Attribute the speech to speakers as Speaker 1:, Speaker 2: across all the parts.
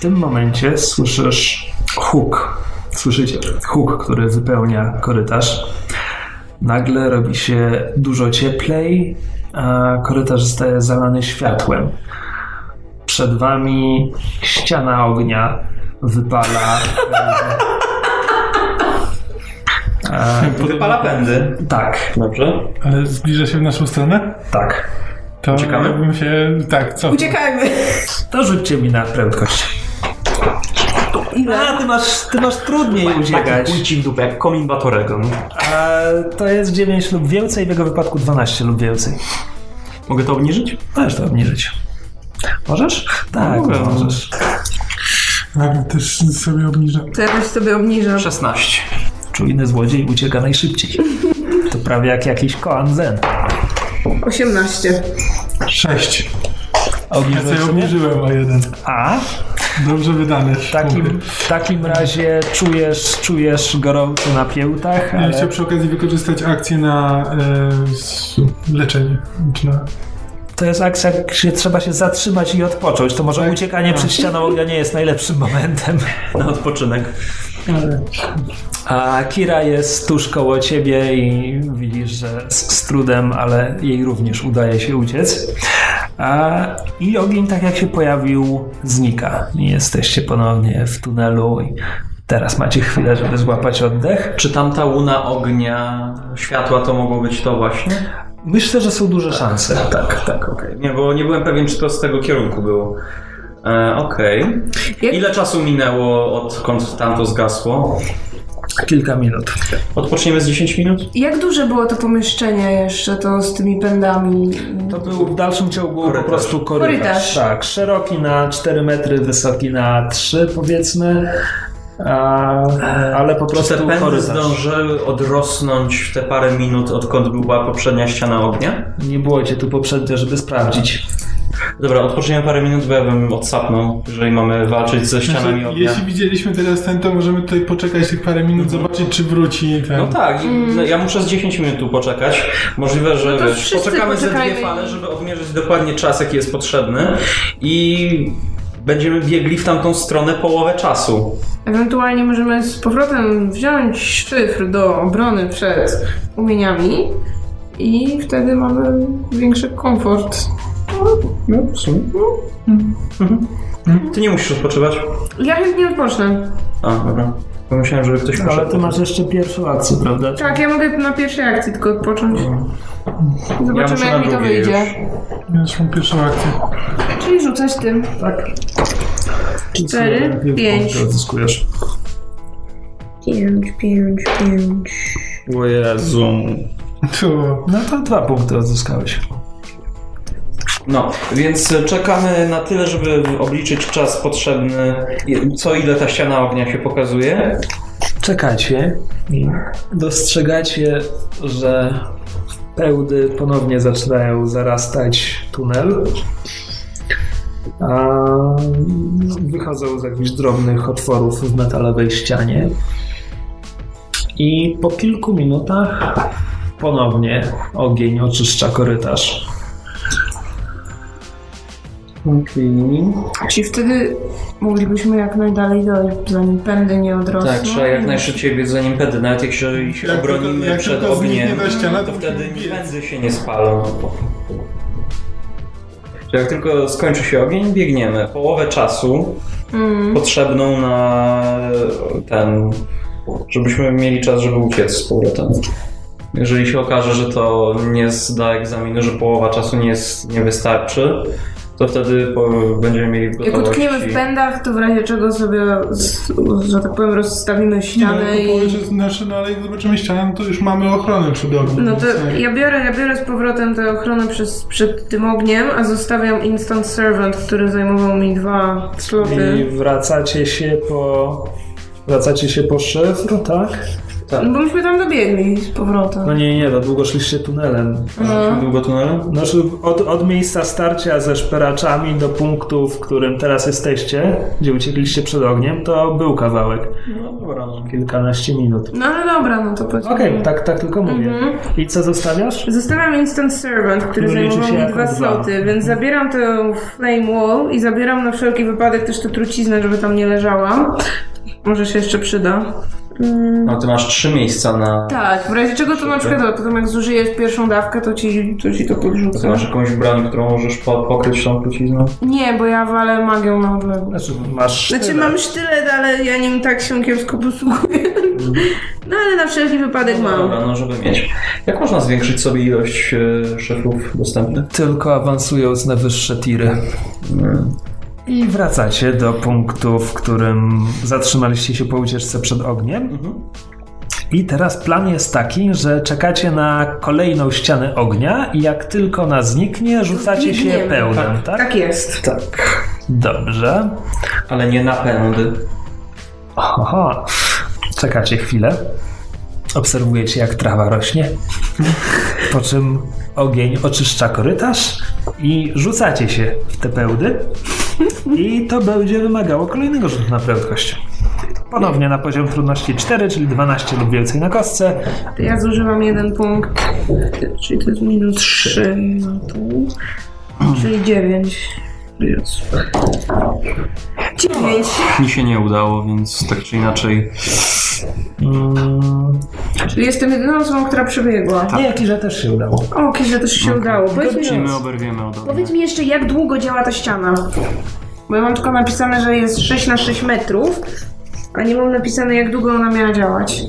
Speaker 1: tym momencie słyszysz huk. Słyszycie huk, który wypełnia korytarz. Nagle robi się dużo cieplej, a korytarz zostaje zalany światłem. Przed wami ściana ognia wypala. E,
Speaker 2: Wypala pędy.
Speaker 1: tak,
Speaker 2: Dobrze.
Speaker 3: Ale zbliża się w naszą stronę?
Speaker 1: tak.
Speaker 3: To
Speaker 2: Uciekamy?
Speaker 3: ja bym się... Tak, co?
Speaker 4: Uciekajmy!
Speaker 1: To rzućcie mi na prędkość. A, ty masz, ty masz trudniej uciekać.
Speaker 2: Ulci w dupę, jak komin Batoregon.
Speaker 1: A, to jest 9 lub więcej, w jego wypadku 12 lub więcej.
Speaker 2: Mogę to obniżyć?
Speaker 1: Możesz to obniżyć. Możesz? Tak,
Speaker 2: Mogę. no.
Speaker 1: możesz.
Speaker 3: Ale też sobie obniżam.
Speaker 4: To jakoś sobie obniżam.
Speaker 2: 16.
Speaker 1: Czujny złodziej ucieka najszybciej. To prawie jak jakiś koan zen.
Speaker 4: 18.
Speaker 3: Sześć.
Speaker 1: A
Speaker 3: Ja
Speaker 1: obniżyłeś
Speaker 3: sobie
Speaker 1: sobie?
Speaker 3: obniżyłem o jeden.
Speaker 1: A
Speaker 3: Dobrze wydane.
Speaker 1: w takim, w takim razie czujesz, czujesz gorąco na piełtach,
Speaker 3: Ja
Speaker 1: ale
Speaker 3: chciał przy okazji wykorzystać akcję na e, s- leczenie. Czy na...
Speaker 1: to jest akcja, gdzie trzeba się zatrzymać i odpocząć. To
Speaker 2: Tak.
Speaker 1: może uciekanie przed ścianą ognia nie jest najlepszym momentem. No,
Speaker 2: Na odpoczynek.
Speaker 1: A Kira jest tuż koło ciebie i widzisz, że z, z trudem, ale jej również udaje się uciec. A, I ogień, tak jak się pojawił, znika. I Jesteście ponownie w tunelu i teraz macie chwilę, żeby złapać oddech.
Speaker 2: Czy tamta łuna ognia, światła to mogło być to właśnie?
Speaker 1: Myślę, że są duże szanse.
Speaker 2: Tak, tak, okej. Nie, bo nie byłem pewien, czy to z tego kierunku było. E, okej.
Speaker 4: Jak-
Speaker 2: Ile czasu minęło, odkąd tamto zgasło?
Speaker 1: Kilka minut.
Speaker 2: Odpoczniemy z 10 minut?
Speaker 4: Jak duże było to pomieszczenie jeszcze, to z tymi pędami?
Speaker 1: To był w dalszym ciągu
Speaker 2: Korytarz.
Speaker 1: po prostu korytarz.
Speaker 4: Korytarz.
Speaker 1: Tak, szeroki na 4 metry, wysoki na 3 powiedzmy. A, ale po
Speaker 2: Czy
Speaker 1: prostu
Speaker 2: te pędy
Speaker 1: korytarz.
Speaker 2: zdążyły odrosnąć w te parę minut, odkąd była poprzednia ściana ognia?
Speaker 1: Nie było cię tu poprzednio, żeby sprawdzić.
Speaker 2: Dobra, odpoczniemy parę minut, bo ja bym odsapnął, jeżeli mamy walczyć ze ścianami
Speaker 3: Znaczy,
Speaker 2: ognia.
Speaker 3: jeśli widzieliśmy teraz ten, to możemy tutaj poczekać tych parę minut, zobaczyć czy wróci ten.
Speaker 2: No tak, i- ja muszę z 10 minut tu poczekać. Możliwe, że
Speaker 4: Mm. No to
Speaker 2: wiesz,
Speaker 4: wszyscy
Speaker 2: poczekamy ze dwie
Speaker 4: poczekajmy.
Speaker 2: fale, żeby odmierzyć dokładnie czas, jaki jest potrzebny i będziemy biegli w tamtą stronę połowę czasu.
Speaker 4: Ewentualnie możemy z powrotem wziąć szyfr do obrony przed umieniami i wtedy mamy większy komfort.
Speaker 2: No, w sumie. Ty nie musisz odpoczywać.
Speaker 4: Ja chętnie odpocznę.
Speaker 2: A, dobra. Pomyślałem, żeby ktoś
Speaker 1: Ale
Speaker 2: poszedł.
Speaker 1: ty masz jeszcze pierwszą akcję, prawda?
Speaker 4: Tak, ja mogę na pierwszej akcji tylko odpocząć.
Speaker 2: Ja
Speaker 4: Zobaczymy,
Speaker 2: muszę na
Speaker 4: jak mi to
Speaker 2: drugiej
Speaker 4: wyjdzie.
Speaker 2: już.
Speaker 3: Miałeś tą pierwszą akcję.
Speaker 4: Czyli rzucać tym.
Speaker 1: Tak.
Speaker 4: Cztery, Y, pięć.
Speaker 1: Odzyskujesz.
Speaker 4: 5, 5, 5.
Speaker 2: O Jezu.
Speaker 3: To...
Speaker 1: No to dwa punkty odzyskałeś.
Speaker 2: No, więc czekamy na tyle, żeby obliczyć czas potrzebny, co ile ta ściana ognia się pokazuje.
Speaker 1: Czekacie i dostrzegacie, że pełdy ponownie zaczynają zarastać tunel. A wychodzą z jakichś drobnych otworów w metalowej ścianie. I po kilku minutach ponownie ogień oczyszcza korytarz. Okay.
Speaker 4: Czyli wtedy moglibyśmy jak najdalej dojść, zanim pędy nie odrosną.
Speaker 2: Tak, trzeba jak najszybciej biec zanim pędy, nawet jak się, się
Speaker 3: Jak
Speaker 2: obronimy
Speaker 3: tylko- jak
Speaker 2: przed
Speaker 3: tylko zniknie
Speaker 2: ogniem,
Speaker 3: ta ściana,
Speaker 2: to,
Speaker 3: to musimy
Speaker 2: wtedy
Speaker 3: biec.
Speaker 2: pędy się nie spalą. Jak tylko skończy się ogień, biegniemy połowę czasu
Speaker 4: Mm.
Speaker 2: potrzebną na e, ten, żebyśmy mieli czas, żeby uciec z powrotem. Jeżeli się okaże, że to nie zda egzaminu, że połowa czasu nie, jest, nie wystarczy, to wtedy po, będziemy mieli w
Speaker 4: Jak
Speaker 2: gotowości...
Speaker 4: utkniemy w pędach, to w razie czego sobie, z, że tak powiem, rozstawimy ściany
Speaker 3: Nie,
Speaker 4: i...
Speaker 3: powiesz, że nasze, no, ale jak zobaczymy ścianę, no to już mamy ochronę przed ogniem.
Speaker 4: No to
Speaker 3: więc tak.
Speaker 4: ja biorę, ja biorę z powrotem tę ochronę przez, przed tym ogniem, a zostawiam Instant Servant, który zajmował mi dwa sloty.
Speaker 1: I wracacie się po. Wracacie się po szyfr, tak?
Speaker 2: Tak.
Speaker 4: No bo myśmy tam dobiegli z powrotem.
Speaker 1: No nie, nie, no długo szliście tunelem.
Speaker 4: No.
Speaker 2: Długo tunelem?
Speaker 1: Znaczy od, od miejsca starcia ze szperaczami do punktu, w którym teraz jesteście, gdzie uciekliście przed ogniem, to był kawałek.
Speaker 2: No dobra, no.
Speaker 1: Kilkanaście minut.
Speaker 4: No ale dobra, no to powiedzmy.
Speaker 1: Okej, tak, tak tylko mówię.
Speaker 4: Mhm.
Speaker 1: I co zostawiasz?
Speaker 4: Zostawiam Instant Servant, który
Speaker 1: Który liczy
Speaker 4: zajmował
Speaker 1: się
Speaker 4: mi
Speaker 1: jako
Speaker 4: dwa
Speaker 1: dwa. Mhm.
Speaker 4: sloty, więc zabieram tę Flame Wall i zabieram na wszelki wypadek też tę truciznę, żeby tam nie leżała. Może się jeszcze przyda. Mm.
Speaker 2: No ty masz trzy miejsca na...
Speaker 4: Tak, w razie czego to na przykład, o, potem jak zużyjesz pierwszą dawkę, to ci to, ci to
Speaker 2: To ty
Speaker 4: podrzucę.
Speaker 2: masz jakąś broń, którą możesz po, pokryć tą trucizną?
Speaker 4: Nie, bo ja walę magią na odległość.
Speaker 1: Znaczy masz.
Speaker 4: Znaczy
Speaker 1: tyle.
Speaker 4: mam sztylet, ale ja nim tak się kiepsko posługuję.
Speaker 1: Mhm.
Speaker 4: No ale na wszelki wypadek mam.
Speaker 2: Dobra, no żeby mieć. Jak można zwiększyć sobie ilość e, szyfrów dostępnych?
Speaker 1: Tylko awansując na wyższe tiry.
Speaker 2: Mm.
Speaker 1: I wracacie do punktu, w którym zatrzymaliście się po ucieczce przed ogniem. I teraz plan jest taki, że czekacie na kolejną ścianę ognia i jak tylko ona zniknie, rzucacie się
Speaker 4: Znikniemy.
Speaker 1: pełnym, tak?
Speaker 4: Tak jest.
Speaker 2: Tak.
Speaker 1: Dobrze.
Speaker 2: Ale nie napędy.
Speaker 1: Aha. Czekacie chwilę. Obserwujecie, jak trawa rośnie. Po czym ogień oczyszcza korytarz i rzucacie się w te pełdy. I to będzie wymagało kolejnego rzutu na prędkość. Ponownie na poziom trudności 4, czyli 12 lub więcej na kostce.
Speaker 4: To ja zużywam jeden punkt, czyli to jest minus 3 na pół, czyli 9. Jezu. 9.
Speaker 2: Mi się nie udało, więc tak czy inaczej.
Speaker 1: Mm,
Speaker 4: Czyli jestem jedyną osobą, która przebiegła.
Speaker 1: nie, jakiś że też się udało.
Speaker 4: O, kiedy też się udało. Powiedz mi,
Speaker 2: oberwiemy od
Speaker 4: powiedz mi jeszcze, jak długo działa ta ściana? Bo ja mam tylko napisane, że jest 6 na 6 metrów, a nie mam napisane, jak długo ona miała działać.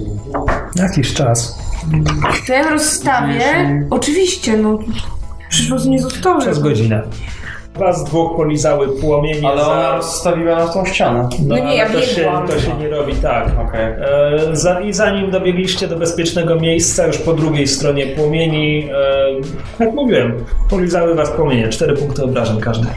Speaker 1: Jakiś czas.
Speaker 4: To ja rozstawię. Oczywiście, no. Przecież was nie zostało.
Speaker 1: Przez godzinę. Was dwóch polizały płomienie
Speaker 2: Ale
Speaker 1: za...
Speaker 2: ona stawiła na tą ścianę.
Speaker 4: No nie,
Speaker 1: ale
Speaker 4: ja
Speaker 1: to się,
Speaker 4: biegłam.
Speaker 1: to się nie robi tak.
Speaker 2: Okej.
Speaker 1: E, Za, I zanim dobiegliście do bezpiecznego miejsca, już po drugiej stronie płomieni, e, jak mówiłem, polizały was płomienie. Cztery punkty obrażeń każdy.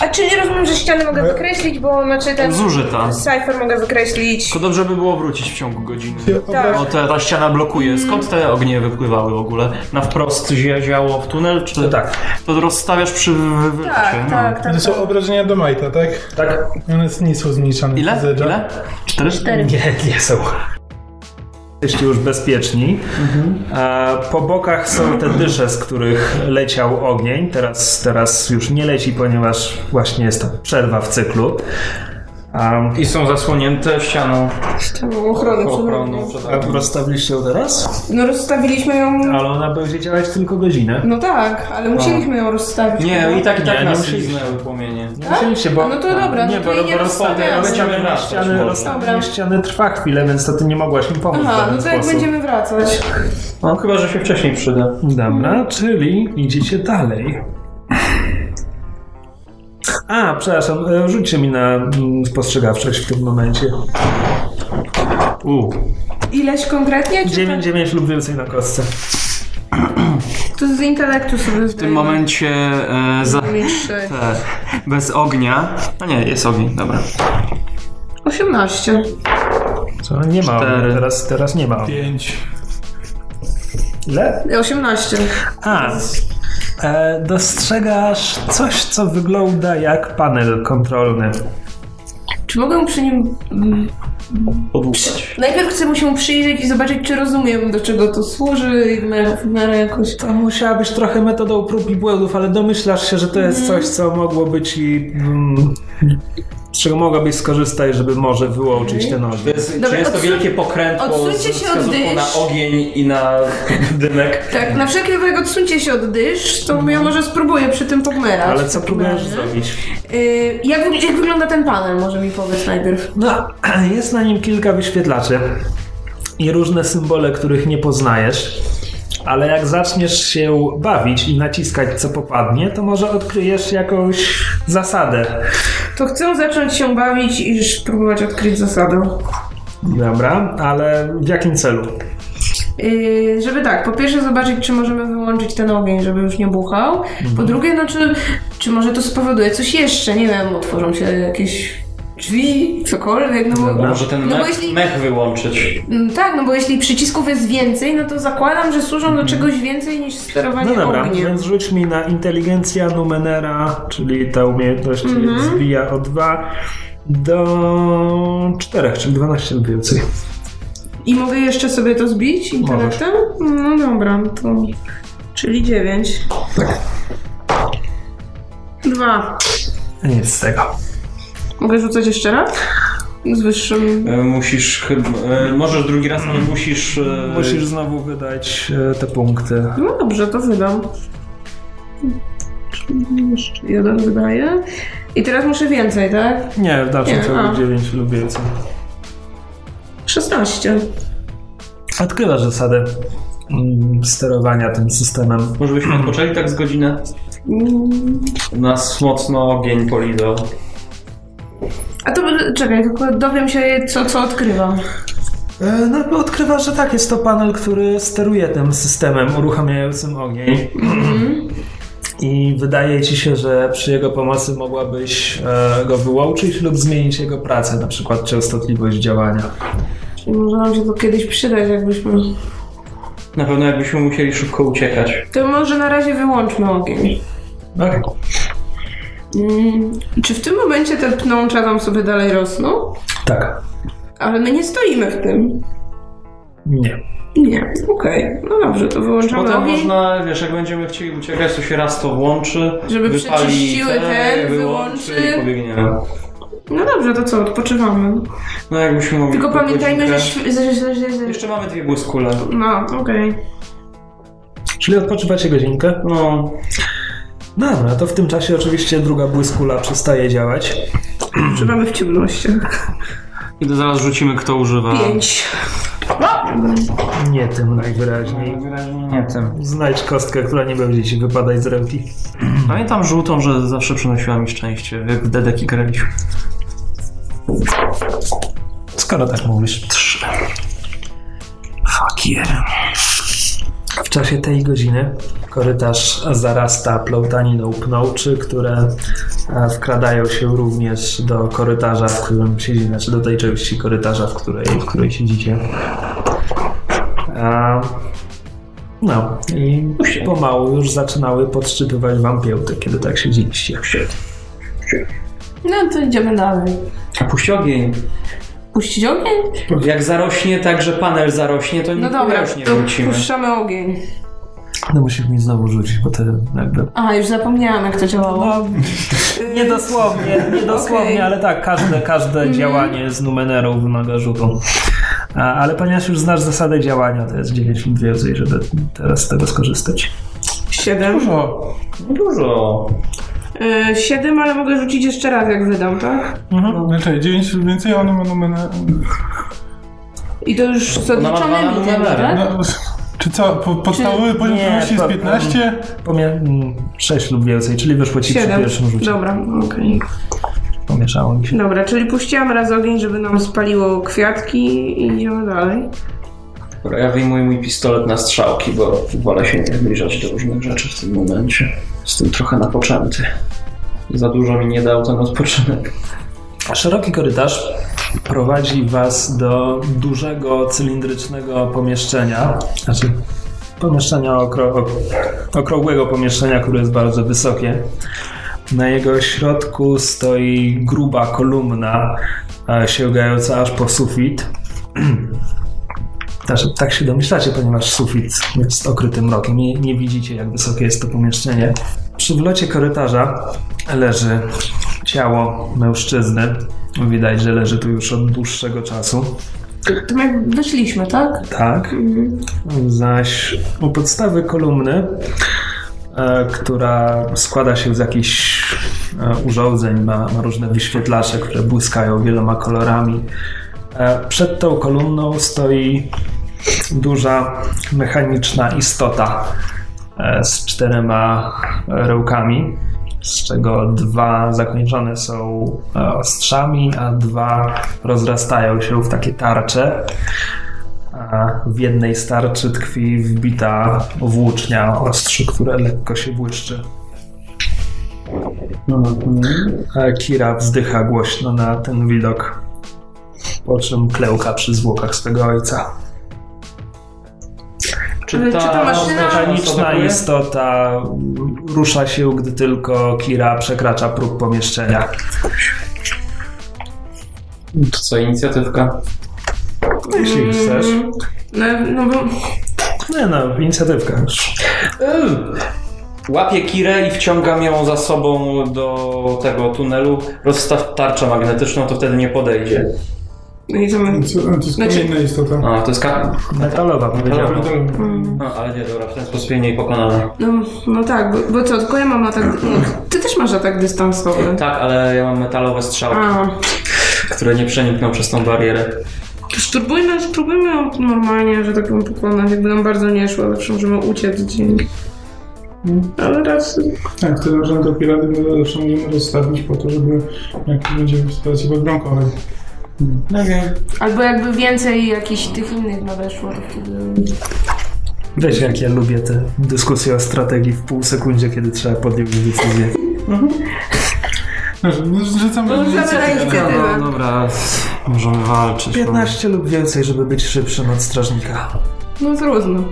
Speaker 4: A czyli rozumiem, że ściany mogę
Speaker 3: E,
Speaker 4: wykreślić, bo znaczy ten
Speaker 2: Zużyta.
Speaker 4: cypher mogę wykreślić.
Speaker 2: To dobrze by było wrócić w ciągu godziny.
Speaker 4: Tak.
Speaker 2: O, ta, ta ściana blokuje. Skąd te ognie wypływały w ogóle? Na wprost zia- ziało w tunel? Czy
Speaker 1: To tak,
Speaker 2: To rozstawiasz przy wy- wylocie?
Speaker 4: Tak,
Speaker 2: no.
Speaker 4: tak, tak.
Speaker 3: To są obrażenia do Majta, tak?
Speaker 1: tak?
Speaker 3: One nie są zmniejszane.
Speaker 2: Ile?
Speaker 3: przez edge'a.
Speaker 2: Ile? Cztery?
Speaker 4: Cztery.
Speaker 1: Nie, nie są. Jesteście już bezpieczni. Mhm. A po bokach są te dysze, z których leciał ogień. Teraz, teraz już nie leci, ponieważ właśnie jest ta przerwa w cyklu. A,
Speaker 2: I są zasłonięte ścianą
Speaker 4: Ścianą ochrony przed
Speaker 2: ochronną.
Speaker 4: nami.
Speaker 1: a rozstawiliście ją teraz?
Speaker 4: No rozstawiliśmy ją.
Speaker 1: Ale ona będzie działać tylko godzinę.
Speaker 4: No tak, ale musieliśmy ją rozstawić. no.
Speaker 2: Nie, i tak i tak
Speaker 1: Nie, nie
Speaker 2: nas
Speaker 1: musieliście.
Speaker 2: liznęły płomienie.
Speaker 1: No Musieliście, bo...
Speaker 4: A no to dobra,
Speaker 1: nie,
Speaker 4: no to jej nie rozstawiamy.
Speaker 2: będziemy
Speaker 1: Rozstawienie
Speaker 2: wracać,
Speaker 1: ściany,
Speaker 2: może.
Speaker 1: rozstawienie ściany trwa chwilę, więc to ty nie mogłaś mi pomóc. w
Speaker 4: Aha,
Speaker 1: żaden
Speaker 4: no to jak
Speaker 1: sposób.
Speaker 4: będziemy wracać?
Speaker 2: No chyba, że się wcześniej przyda.
Speaker 1: Dobra, czyli idziecie dalej. A, przepraszam, e, rzućcie mi na mm, spostrzegawczość w tym momencie.
Speaker 2: U.
Speaker 4: Ileś konkretnie? Czy
Speaker 1: 9, 9 lub więcej na kostce.
Speaker 4: tak? To z intelektu sobie
Speaker 2: W tym momencie e, za, te, bez ognia. No nie, jest ogień, dobra.
Speaker 4: 18.
Speaker 1: Co? Nie ma,
Speaker 2: Cztery.
Speaker 1: ognia, teraz, teraz nie ma.
Speaker 3: Pięć.
Speaker 1: Ile?
Speaker 4: 18.
Speaker 1: A, e, dostrzegasz coś, co wygląda jak panel kontrolny.
Speaker 4: Czy mogę przy nim. mm,
Speaker 2: Podłuchać.
Speaker 4: Najpierw chcę mu się przyjrzeć i zobaczyć, czy rozumiem, do czego to służy i w miarę, w miarę jakoś.
Speaker 1: To musiałabyś trochę metodą prób i błędów, ale domyślasz się, że to jest coś, co mogłoby ci... Mm, z czego mogłabyś skorzystać, żeby może wyłączyć ten ogień.
Speaker 2: czy
Speaker 4: Dobra,
Speaker 2: jest to
Speaker 4: odsuń-
Speaker 2: wielkie pokrętło
Speaker 4: odsuńcie
Speaker 2: z
Speaker 4: się od
Speaker 2: wskazówką
Speaker 4: dysz.
Speaker 2: na ogień i na dymek?
Speaker 4: Tak, na wszelki wypadek odsuńcie się od dysz, to ja może spróbuję przy tym pogmerać.
Speaker 1: Ale co próbujesz zrobić?
Speaker 4: Y, jak, wy- jak wygląda ten panel, może mi powiedz najpierw.
Speaker 1: No, jest na nim kilka wyświetlaczy i różne symbole, których nie poznajesz. Ale jak zaczniesz się bawić i naciskać co popadnie, to może odkryjesz jakąś zasadę.
Speaker 4: To chcę zacząć się bawić i spróbować odkryć zasadę.
Speaker 1: Dobra, ale w jakim celu?
Speaker 4: Yy, żeby tak, po pierwsze zobaczyć, czy możemy wyłączyć ten ogień, żeby już nie buchał.
Speaker 1: Mhm.
Speaker 4: Po drugie, no czy, czy może to spowoduje coś jeszcze, nie wiem, otworzą się jakieś drzwi, cokolwiek, no bo...
Speaker 2: Bo może ten
Speaker 4: No bo
Speaker 2: mech,
Speaker 4: jeśli-
Speaker 2: mech wyłączyć.
Speaker 4: Mm, Tak, no bo jeśli przycisków jest więcej, no to zakładam, że służą do czegoś więcej niż sterowanie
Speaker 1: Mhm. No dobra,
Speaker 4: ogniem.
Speaker 1: więc rzuć mi na inteligencja Numenera, czyli ta umiejętność
Speaker 4: Mhm.
Speaker 1: zbija o 2 do 4, czyli 12 lub więcej.
Speaker 4: I mogę jeszcze sobie to zbić intelektem? No dobra, to... Czyli 9. Tak. Dwa.
Speaker 1: Nic z tego.
Speaker 4: Mogę rzucać jeszcze raz? Z wyższym...
Speaker 2: E, Musisz chyba... e, Możesz drugi raz, ale musisz... e,
Speaker 1: Musisz znowu wydać e, te punkty.
Speaker 4: No dobrze, to wydam. Czyli Jeszcze jeden wydaję. I teraz muszę więcej, tak?
Speaker 1: Nie, w dalszym
Speaker 4: Nie,
Speaker 1: ciągu
Speaker 4: a.
Speaker 1: 9 lub więcej.
Speaker 4: 16.
Speaker 1: Odkrywasz zasadę mm, sterowania tym systemem.
Speaker 2: Może byśmy odpoczęli tak z godzinę?
Speaker 4: Mm.
Speaker 2: Nas mocno ogień polidał.
Speaker 4: A to by- czekaj, tylko dowiem się, co, co odkrywam.
Speaker 1: E, No, bo odkrywasz, że tak, jest to panel, który steruje tym systemem uruchamiającym ogień.
Speaker 2: Mhm.
Speaker 1: I wydaje ci się, że przy jego pomocy mogłabyś e, go wyłączyć lub zmienić jego pracę, na przykład częstotliwość działania.
Speaker 4: Czyli może nam się to kiedyś przydać, jakbyśmy.
Speaker 2: Na pewno jakbyśmy musieli szybko uciekać.
Speaker 4: To może na razie wyłączmy ogień.
Speaker 1: Tak?
Speaker 4: Mm. Czy w tym momencie te pnącza tam sobie dalej rosną?
Speaker 1: Tak.
Speaker 4: Ale my nie stoimy w tym.
Speaker 1: Nie.
Speaker 4: Nie, okej. No dobrze, to wyłączamy
Speaker 2: Potem
Speaker 4: ogień.
Speaker 2: można, wiesz, jak będziemy chcieli uciekać, to się raz to włączy.
Speaker 4: Żeby
Speaker 2: wypali
Speaker 4: przeczyściły ten,
Speaker 2: wyłączy
Speaker 4: wyłączy.
Speaker 2: I pobiegniemy.
Speaker 4: No dobrze, to co, odpoczywamy.
Speaker 2: No jakbyśmy mogli...
Speaker 4: Tylko
Speaker 2: po
Speaker 4: pamiętajmy, że...
Speaker 2: godzinkę-
Speaker 4: świ- że, że, że, że...
Speaker 2: Jeszcze mamy dwie błyskule.
Speaker 4: No, okej.
Speaker 1: Czyli odpoczywacie godzinkę.
Speaker 2: No,
Speaker 1: No Dobra, to w tym czasie oczywiście druga błyskula przestaje działać.
Speaker 4: Trzymamy w ciemnościach.
Speaker 2: i to zaraz rzucimy, kto używa.
Speaker 4: Pięć.
Speaker 2: No!
Speaker 1: Nie tym najwyraźniej.
Speaker 2: Wyraźnie nie tym.
Speaker 1: Znajdź kostkę, która nie będzie ci wypadać z ręki.
Speaker 2: Pamiętam żółtą, że zawsze przynosiła mi szczęście, jak w Dedeki graliśmy.
Speaker 1: Skoro tak mówisz. Trzy. Fuck yeah. W czasie tej godziny korytarz zarasta plątaniną pnączy, które e, wkradają się również do korytarza, w którym siedzimy, znaczy do tej części korytarza, w której, w której siedzicie. A, no i pomału już zaczynały podszczypywać wam piełty, kiedy tak siedzieliście.
Speaker 4: No to idziemy dalej.
Speaker 2: A puść ogień.
Speaker 4: Puścić ogień?
Speaker 2: Jak zarośnie tak, że panel zarośnie, to
Speaker 4: No
Speaker 2: nie
Speaker 4: dobra,
Speaker 2: już nie
Speaker 4: to
Speaker 2: wrócimy.
Speaker 4: puszczamy ogień.
Speaker 1: No musisz mi znowu rzucić, bo to jakby
Speaker 4: A, już zapomniałam jak to działało.
Speaker 1: No, niedosłownie, niedosłownie,
Speaker 4: y, Okej. Mhm.
Speaker 1: ale tak, każde, każde działanie z numenerą wymaga rzutu. A, ale ponieważ już znasz zasadę działania, to jest 9 lub więcej, żeby teraz z tego skorzystać.
Speaker 4: Siedem.
Speaker 3: Dużo.
Speaker 2: Dużo.
Speaker 4: Y, Siedem, ale mogę rzucić jeszcze raz jak wydam, tak?
Speaker 3: Znaczy 9 lub więcej, a one będą mena...
Speaker 4: I to już co
Speaker 2: Ona ma
Speaker 4: liczone
Speaker 2: dwa
Speaker 4: mitem,
Speaker 2: numery.
Speaker 4: tak?
Speaker 3: No, czy co, po, podstawowy
Speaker 1: Czy-
Speaker 3: poziom
Speaker 1: nie,
Speaker 3: trudności jest
Speaker 1: to-
Speaker 3: 15?
Speaker 1: Pomia- 6 lub więcej, czyli wyszło ci przy
Speaker 4: Siedem.
Speaker 1: pierwszym rzucie.
Speaker 4: Dobra, okej.
Speaker 1: Pomieszało mi się.
Speaker 4: Dobra, czyli puściłam raz ogień, żeby nam spaliło kwiatki i idziemy dalej.
Speaker 2: Dobra, ja wyjmuję mój pistolet na strzałki, bo wolę się nie zbliżać do różnych rzeczy w tym momencie. Jestem trochę napoczęty. Za dużo mi nie dał ten odpoczynek.
Speaker 1: Szeroki korytarz prowadzi Was do dużego cylindrycznego pomieszczenia, znaczy pomieszczenia okro, ok, okrągłego pomieszczenia, które jest bardzo wysokie. Na jego środku stoi gruba kolumna e, sięgająca aż po sufit. Znaczy, tak się domyślacie, ponieważ sufit jest okryty mrokiem. Nie, nie widzicie, jak wysokie jest to pomieszczenie. Przy wlocie korytarza leży ciało mężczyzny. Widać, że leży tu już od dłuższego czasu.
Speaker 4: To, to jak weszliśmy, tak?
Speaker 1: Tak. Zaś u podstawy kolumny, e, która składa się z jakichś e, urządzeń, ma, ma różne wyświetlacze, które błyskają wieloma kolorami. E, przed tą kolumną stoi duża mechaniczna istota e, z czterema e, rełkami, z czego dwa zakończone są e, ostrzami, a dwa rozrastają się w takie tarcze. A w jednej z tarczy tkwi wbita włócznia ostrzy, które lekko się błyszczy. A Kira wzdycha głośno na ten widok, po czym klełka przy zwłokach swego ojca.
Speaker 4: Ale czy ta maszyna-
Speaker 1: Mechaniczna istota rusza się, gdy tylko Kira przekracza próg pomieszczenia.
Speaker 2: To co, inicjatywka?
Speaker 1: Jeśli No chcesz.
Speaker 4: Mm, No, no bo
Speaker 1: Nie no, inicjatywka już.
Speaker 2: Łapię Kirę i wciągam ją za sobą do tego tunelu. Rozstaw tarczę magnetyczną, to wtedy nie podejdzie.
Speaker 4: no i co my...
Speaker 3: Co- To jest
Speaker 4: Znaczy-
Speaker 3: kamienna istota.
Speaker 2: A, to jest ka...
Speaker 1: Metalowa powiedziałem.
Speaker 4: Mm,
Speaker 2: A, ale nie, dobra, w ten sposób jej nie pokonamy.
Speaker 4: No, no tak, bo, bo co, tylko ja mam atak... Nie, ty też masz atak dystansowy.
Speaker 2: Tak, ale ja mam metalowe strzały,
Speaker 4: A,
Speaker 2: które nie przenikną przez tą barierę.
Speaker 4: to spróbujmy, spróbujmy ją normalnie, że tak powiem, pokonać. Jakby nam bardzo nie szło, zawsze możemy uciec dzięki. Ale raz...
Speaker 3: Tak, tyle, że na to piraty my zawsze możemy rozstawić po to, żeby jak będziemy w sytuacji podbramkowej.
Speaker 2: No wiem.
Speaker 4: Albo jakby więcej jakichś tych innych nadeszło, to wtedy...
Speaker 1: Wiesz, jak ja lubię te dyskusje o strategii w pół sekundzie, kiedy trzeba podjąć decyzję.
Speaker 3: Znaczy, no, zrzucamy
Speaker 4: No, rzucamy na
Speaker 3: inicjatywę.
Speaker 4: inicjatywę.
Speaker 2: No, dobra, możemy walczyć.
Speaker 1: 15 lub więcej, żeby być szybszym od strażnika.
Speaker 4: No trudno.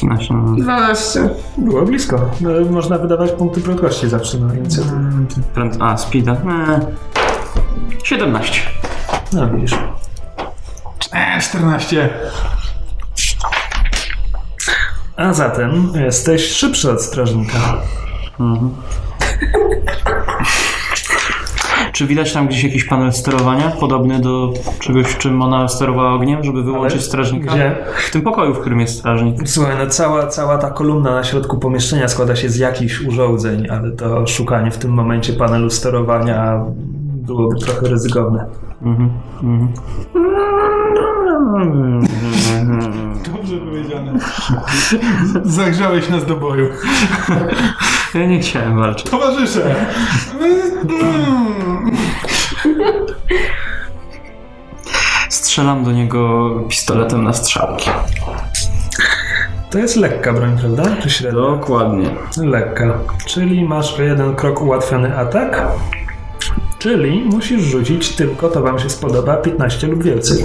Speaker 2: 15.
Speaker 4: 12.
Speaker 1: Było blisko. No, można wydawać punkty prędkości zawsze na inicjatywę.
Speaker 3: Mm,
Speaker 2: Pręd... A, speeda. Eee. 17.
Speaker 1: No widzisz.
Speaker 3: Eee, 14.
Speaker 1: A zatem jesteś szybszy od strażnika.
Speaker 2: Czy widać tam gdzieś jakiś panel sterowania, podobny do czegoś, czym ona sterowała ogniem, żeby wyłączyć
Speaker 1: Ale
Speaker 2: strażnika?
Speaker 1: Gdzie?
Speaker 2: W tym pokoju, w którym jest strażnik.
Speaker 1: Słuchaj, no cała, cała ta kolumna na środku pomieszczenia składa się z jakichś urządzeń, ale to szukanie w tym momencie panelu sterowania byłoby trochę ryzykowne.
Speaker 2: Mhm. Mhm.
Speaker 3: Dobrze powiedziane. Zagrzałeś nas do boju.
Speaker 2: Ja nie chciałem walczyć.
Speaker 3: Towarzysze! Mm.
Speaker 2: Strzelam do niego pistoletem na strzałki.
Speaker 1: To jest lekka broń, prawda? Czy średnia?
Speaker 2: Dokładnie.
Speaker 1: Lekka. Czyli masz o jeden krok ułatwiony atak. Czyli musisz rzucić tylko, to wam się spodoba, 15 lub więcej.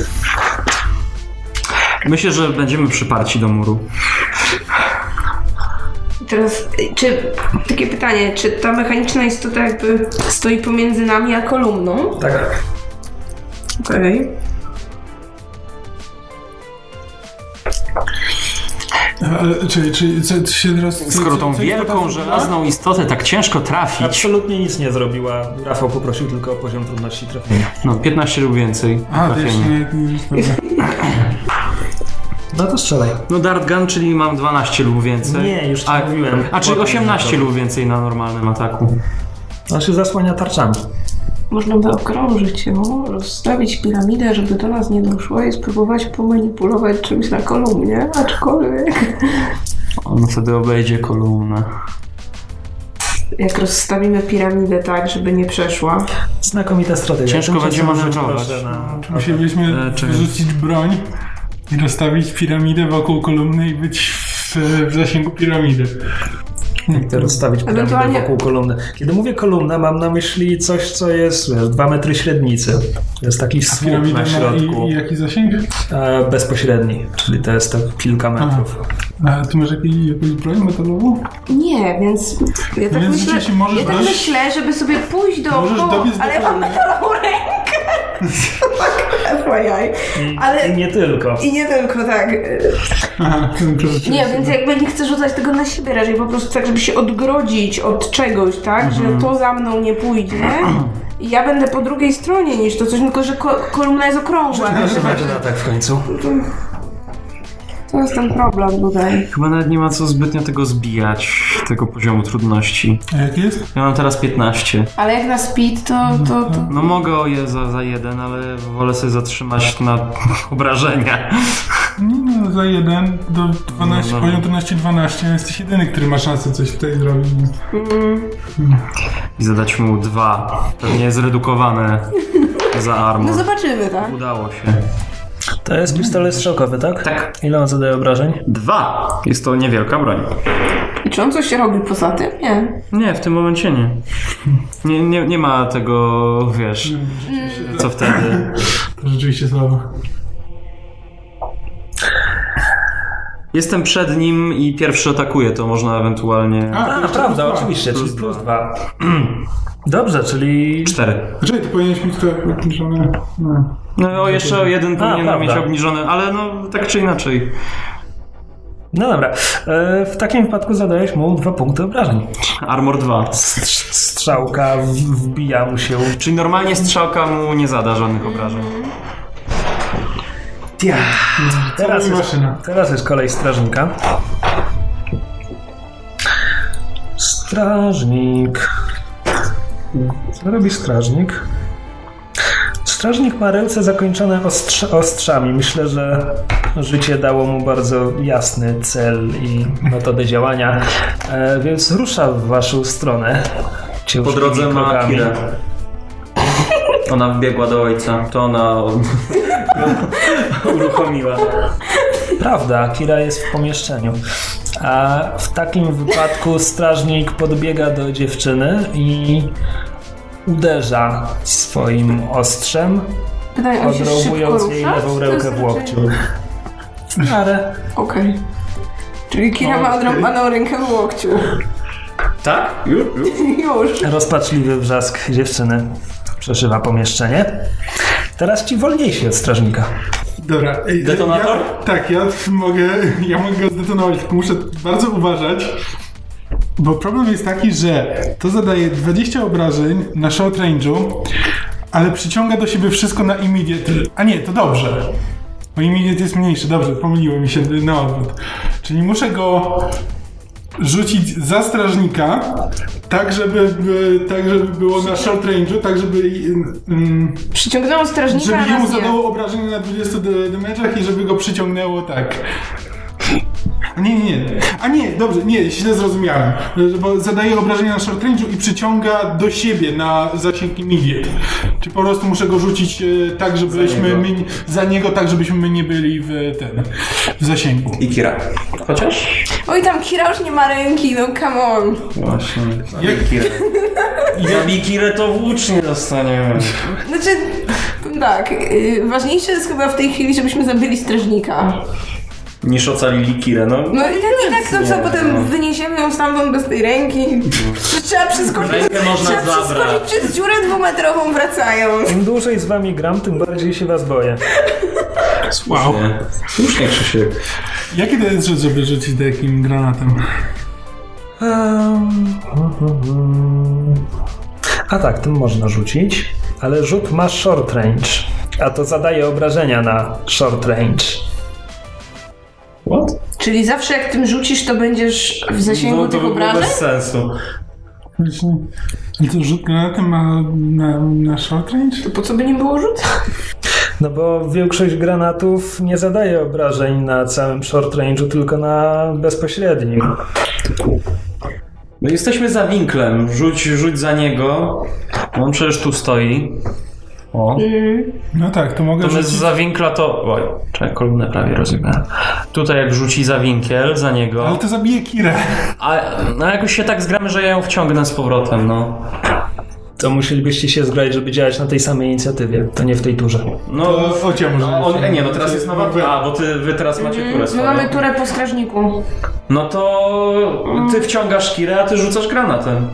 Speaker 2: Myślę, że będziemy przyparci do muru.
Speaker 4: Teraz, y, czy takie pytanie, czy ta mechaniczna istota jakby stoi pomiędzy nami a kolumną?
Speaker 1: Tak.
Speaker 4: Okej.
Speaker 3: Tak, Ale Czyli, czyli co, co się teraz... co-
Speaker 2: Skoro
Speaker 3: co-
Speaker 2: tą
Speaker 3: co- co-
Speaker 2: wielką, żelazną istotę tak ciężko trafić,
Speaker 1: Absolutnie nic nie zrobiła. Rafał poprosił tylko o poziom trudności trafienia.
Speaker 2: no 15 lub więcej
Speaker 3: A, to jeszcze
Speaker 2: trafienie.
Speaker 3: nie... nie-
Speaker 1: No to strzelaj.
Speaker 2: No dart gun, czyli mam 12 lub więcej.
Speaker 1: Nie, już ci
Speaker 2: a,
Speaker 1: mówiłem.
Speaker 2: A czyli
Speaker 1: Potem
Speaker 2: 18
Speaker 1: to-
Speaker 2: lub więcej na normalnym ataku.
Speaker 1: On się zasłania tarczami.
Speaker 4: Można by okrążyć ją, rozstawić piramidę, żeby do nas nie doszło i spróbować pomanipulować czymś na kolumnie, aczkolwiek...
Speaker 2: On wtedy obejdzie kolumnę.
Speaker 4: Jak rozstawimy piramidę tak, żeby nie przeszła.
Speaker 1: Znakomita strategia.
Speaker 2: Ciężko
Speaker 1: Tymczasem
Speaker 2: będzie
Speaker 1: rzuć
Speaker 2: manewrować.
Speaker 1: proszę
Speaker 3: No,
Speaker 1: na-
Speaker 3: Musielibyśmy
Speaker 2: E, czekaj.
Speaker 3: wyrzucić broń i rozstawić piramidę wokół kolumny i być w, w zasięgu piramidy.
Speaker 1: Chcę rozstawić piramidę
Speaker 4: Ewentualnie-
Speaker 1: wokół kolumny. Kiedy mówię kolumna, mam na myśli coś, co jest wiesz, dwa metry średnicy. To jest taki słup
Speaker 3: Piramida
Speaker 1: na
Speaker 3: ma
Speaker 1: środku.
Speaker 3: i, i jaki zasięg?
Speaker 1: E, bezpośredni, czyli to jest tak kilka metrów.
Speaker 3: A ty masz jakiś, jakąś broń metalową?
Speaker 4: Nie, więc ja tak,
Speaker 3: Więc
Speaker 4: myślę,
Speaker 3: rzeczywiście możesz
Speaker 4: ja tak
Speaker 3: dość-
Speaker 4: myślę, żeby sobie pójść dookoła,
Speaker 3: dobiec do
Speaker 4: ale mam
Speaker 3: kolumny. Mm.
Speaker 4: metalową rękę. Tak, FYI.
Speaker 1: I,
Speaker 4: Ale-
Speaker 1: I nie tylko.
Speaker 4: I nie tylko tak.
Speaker 3: Aha, ten przerzucił
Speaker 4: Nie,
Speaker 3: sobie.
Speaker 4: więc jakby nie chcę rzucać tego na siebie, raczej po prostu tak, żeby się odgrodzić od czegoś, tak?
Speaker 1: Mhm.
Speaker 4: Że to za mną nie pójdzie. I ja będę po drugiej stronie niż to coś, tylko że ko- kolumna jest okrągła.
Speaker 1: Ale się będzie na tak w końcu.
Speaker 4: To jest ten problem tutaj.
Speaker 2: Chyba nawet nie ma co zbytnio tego zbijać, tego poziomu trudności.
Speaker 3: A jak jest?
Speaker 2: Ja mam teraz 15.
Speaker 4: Ale jak na speed, to... to, to...
Speaker 2: No mogę o je za, za jeden, ale wolę sobie zatrzymać na obrażenia.
Speaker 3: Nie, no, za 1 do 12,
Speaker 2: No, no.
Speaker 3: poziom trudności 12, jesteś jedyny, który ma szansę coś tutaj zrobić.
Speaker 4: Mm.
Speaker 2: I zadać mu dwa. Pewnie zredukowane za
Speaker 4: No
Speaker 2: armor.
Speaker 4: zobaczymy, tak?
Speaker 2: Udało się.
Speaker 1: To jest pistolet strzałkowy, tak?
Speaker 5: Tak.
Speaker 1: Ile on zadaje obrażeń?
Speaker 5: Dwa. Jest to niewielka broń.
Speaker 4: I czy on coś robi poza tym? Nie.
Speaker 5: Nie, w tym momencie nie. Nie, nie, nie ma tego, wiesz, co wtedy.
Speaker 3: To rzeczywiście słabo.
Speaker 5: Jestem przed nim i pierwszy atakuje, to można ewentualnie...
Speaker 3: A, to
Speaker 1: A,
Speaker 3: jeszcze
Speaker 1: prawda,
Speaker 3: plus dwa.
Speaker 1: oczywiście,
Speaker 5: Plus
Speaker 1: czyli plus dwa. Dobrze, czyli...
Speaker 5: Cztery.
Speaker 3: Znaczy, ty powinieneś mieć to obniżone. No.
Speaker 5: No o, jeszcze o jeden powinienem mieć
Speaker 1: prawda.
Speaker 5: obniżony, ale no tak czy inaczej.
Speaker 1: No dobra, e, w takim wypadku zadajesz mu dwa punkty obrażeń.
Speaker 5: Armor 2.
Speaker 1: Strz- Strzałka w- wbija mu się...
Speaker 5: Czyli normalnie strzałka mu nie zada żadnych obrażeń.
Speaker 1: Ja. Teraz,
Speaker 3: robi
Speaker 1: jest,
Speaker 3: maszyna?
Speaker 1: teraz jest kolej strażnika. Strażnik. Co robi strażnik? Strażnik ma ręce zakończone ostrz- ostrzami. Myślę, że życie dało mu bardzo jasny cel i metodę działania, e, więc rusza w waszą stronę.
Speaker 2: Po
Speaker 1: ciężkimi
Speaker 2: drodze ma
Speaker 1: krokami.
Speaker 2: Akirę. Ona wbiegła do ojca, to ona uruchomiła.
Speaker 1: Prawda, Akira jest w pomieszczeniu. A w takim wypadku strażnik podbiega do dziewczyny i uderza swoim ostrzem,
Speaker 4: Pytanie, on się szybko
Speaker 1: odrąbując jej
Speaker 4: rusza?
Speaker 1: lewą
Speaker 4: Czy to znaczy? jest
Speaker 1: rękę w
Speaker 4: raczej-
Speaker 1: łokciu. Ale
Speaker 4: Okej. Czyli Kira ma odrąbaną rękę w łokciu.
Speaker 2: Tak? Już? Już?
Speaker 4: Już.
Speaker 1: rozpaczliwy wrzask dziewczyny przeszywa pomieszczenie. Teraz ci wolniejsi od strażnika.
Speaker 3: Dobra. ej,
Speaker 2: Detonator?
Speaker 3: Ja, tak, ja mogę, ja mogę go zdetonować, tylko muszę bardzo uważać, bo problem jest taki, że to zadaje 20 obrażeń na short range'u, ale przyciąga do siebie wszystko na immediate. A nie, to dobrze. Bo immediate jest mniejszy, dobrze, pomyliło mi się na odwrót. Czyli muszę go rzucić za strażnika, tak żeby, by- tak żeby było na short range'u, tak żeby... mm,
Speaker 4: Przyciągnęło strażnika,
Speaker 3: żeby
Speaker 4: a
Speaker 3: jemu
Speaker 4: nas nie.
Speaker 3: zadało obrażenie na 20 d- damage'ach i żeby go przyciągnęło tak. Nie, nie, nie. A nie, dobrze, nie, źle zrozumiałem. Bo zadaje obrażenia na short range'u i przyciąga do siebie na zasięg immediate. Czy po prostu muszę go rzucić e, tak, żebyśmy
Speaker 2: niego.
Speaker 3: my, za niego tak, żebyśmy my nie byli w ten w zasięgu.
Speaker 2: I Kira. Chociaż?
Speaker 4: Oj, tam Kira już nie ma ręki, no come on.
Speaker 2: Właśnie.
Speaker 3: Jak-
Speaker 2: Kirę. Zabij Kirę, to włócznie dostaniemy.
Speaker 4: Znaczy, tak, yy, ważniejsze jest chyba w tej chwili, żebyśmy zabili strażnika.
Speaker 2: Niż ocalili Kirę, no.
Speaker 4: No i tak, i tak to co,
Speaker 2: nie,
Speaker 4: potem
Speaker 2: no.
Speaker 4: wyniesiemy ją stamtąd bez tej ręki. Że trzeba przeskoczyć,
Speaker 2: Rękę można
Speaker 4: trzeba przeskoczyć
Speaker 2: zabrać.
Speaker 4: przez dziurę dwumetrową wracając.
Speaker 1: Im dłużej z wami gram, tym bardziej się was boję.
Speaker 3: Wow.
Speaker 2: Nie. Słusznie, Krzysiek.
Speaker 3: Jaki to jest rzecz, żeby rzucić takim granatem?
Speaker 1: Ehm, A tak, tym można rzucić, ale rzut ma short range, a to zadaje obrażenia na short range.
Speaker 2: What?
Speaker 4: Czyli zawsze jak tym rzucisz, to będziesz w zasięgu
Speaker 2: No to
Speaker 4: tych
Speaker 2: by było
Speaker 4: obrażeń?
Speaker 2: bez sensu.
Speaker 3: Właśnie. Ale to rzut granatem ma na, na short range?
Speaker 4: To po co by nie było rzut?
Speaker 1: No bo większość granatów nie zadaje obrażeń na całym short range'u, tylko na bezpośrednim.
Speaker 2: No jesteśmy za winklem. Rzuć, rzuć za niego.
Speaker 5: On przecież tu stoi. O.
Speaker 4: Mm,
Speaker 3: No tak, to mogę
Speaker 5: To, że
Speaker 3: rzucić.
Speaker 5: za winkla to... Oj, czekaj, kolumnę prawie rozebrałem. Tutaj jak rzuci za winkiel, za
Speaker 3: Ale
Speaker 5: niego.
Speaker 3: to zabije Kirę.
Speaker 5: A no, jakoś się tak zgramy, że ja ją wciągnę z powrotem, no.
Speaker 1: To musielibyście się zgrać, żeby działać na tej samej inicjatywie, to nie w tej turze.
Speaker 5: No,
Speaker 3: To Ocia może.
Speaker 2: A on,
Speaker 3: jeszcze.
Speaker 2: e, nie, no teraz jest nowa tura. A, bo ty, wy teraz macie turę
Speaker 4: Mhm, My
Speaker 2: swoją.
Speaker 4: mamy turę po strażniku.
Speaker 2: No to ty wciągasz Kirę, a ty rzucasz granatem.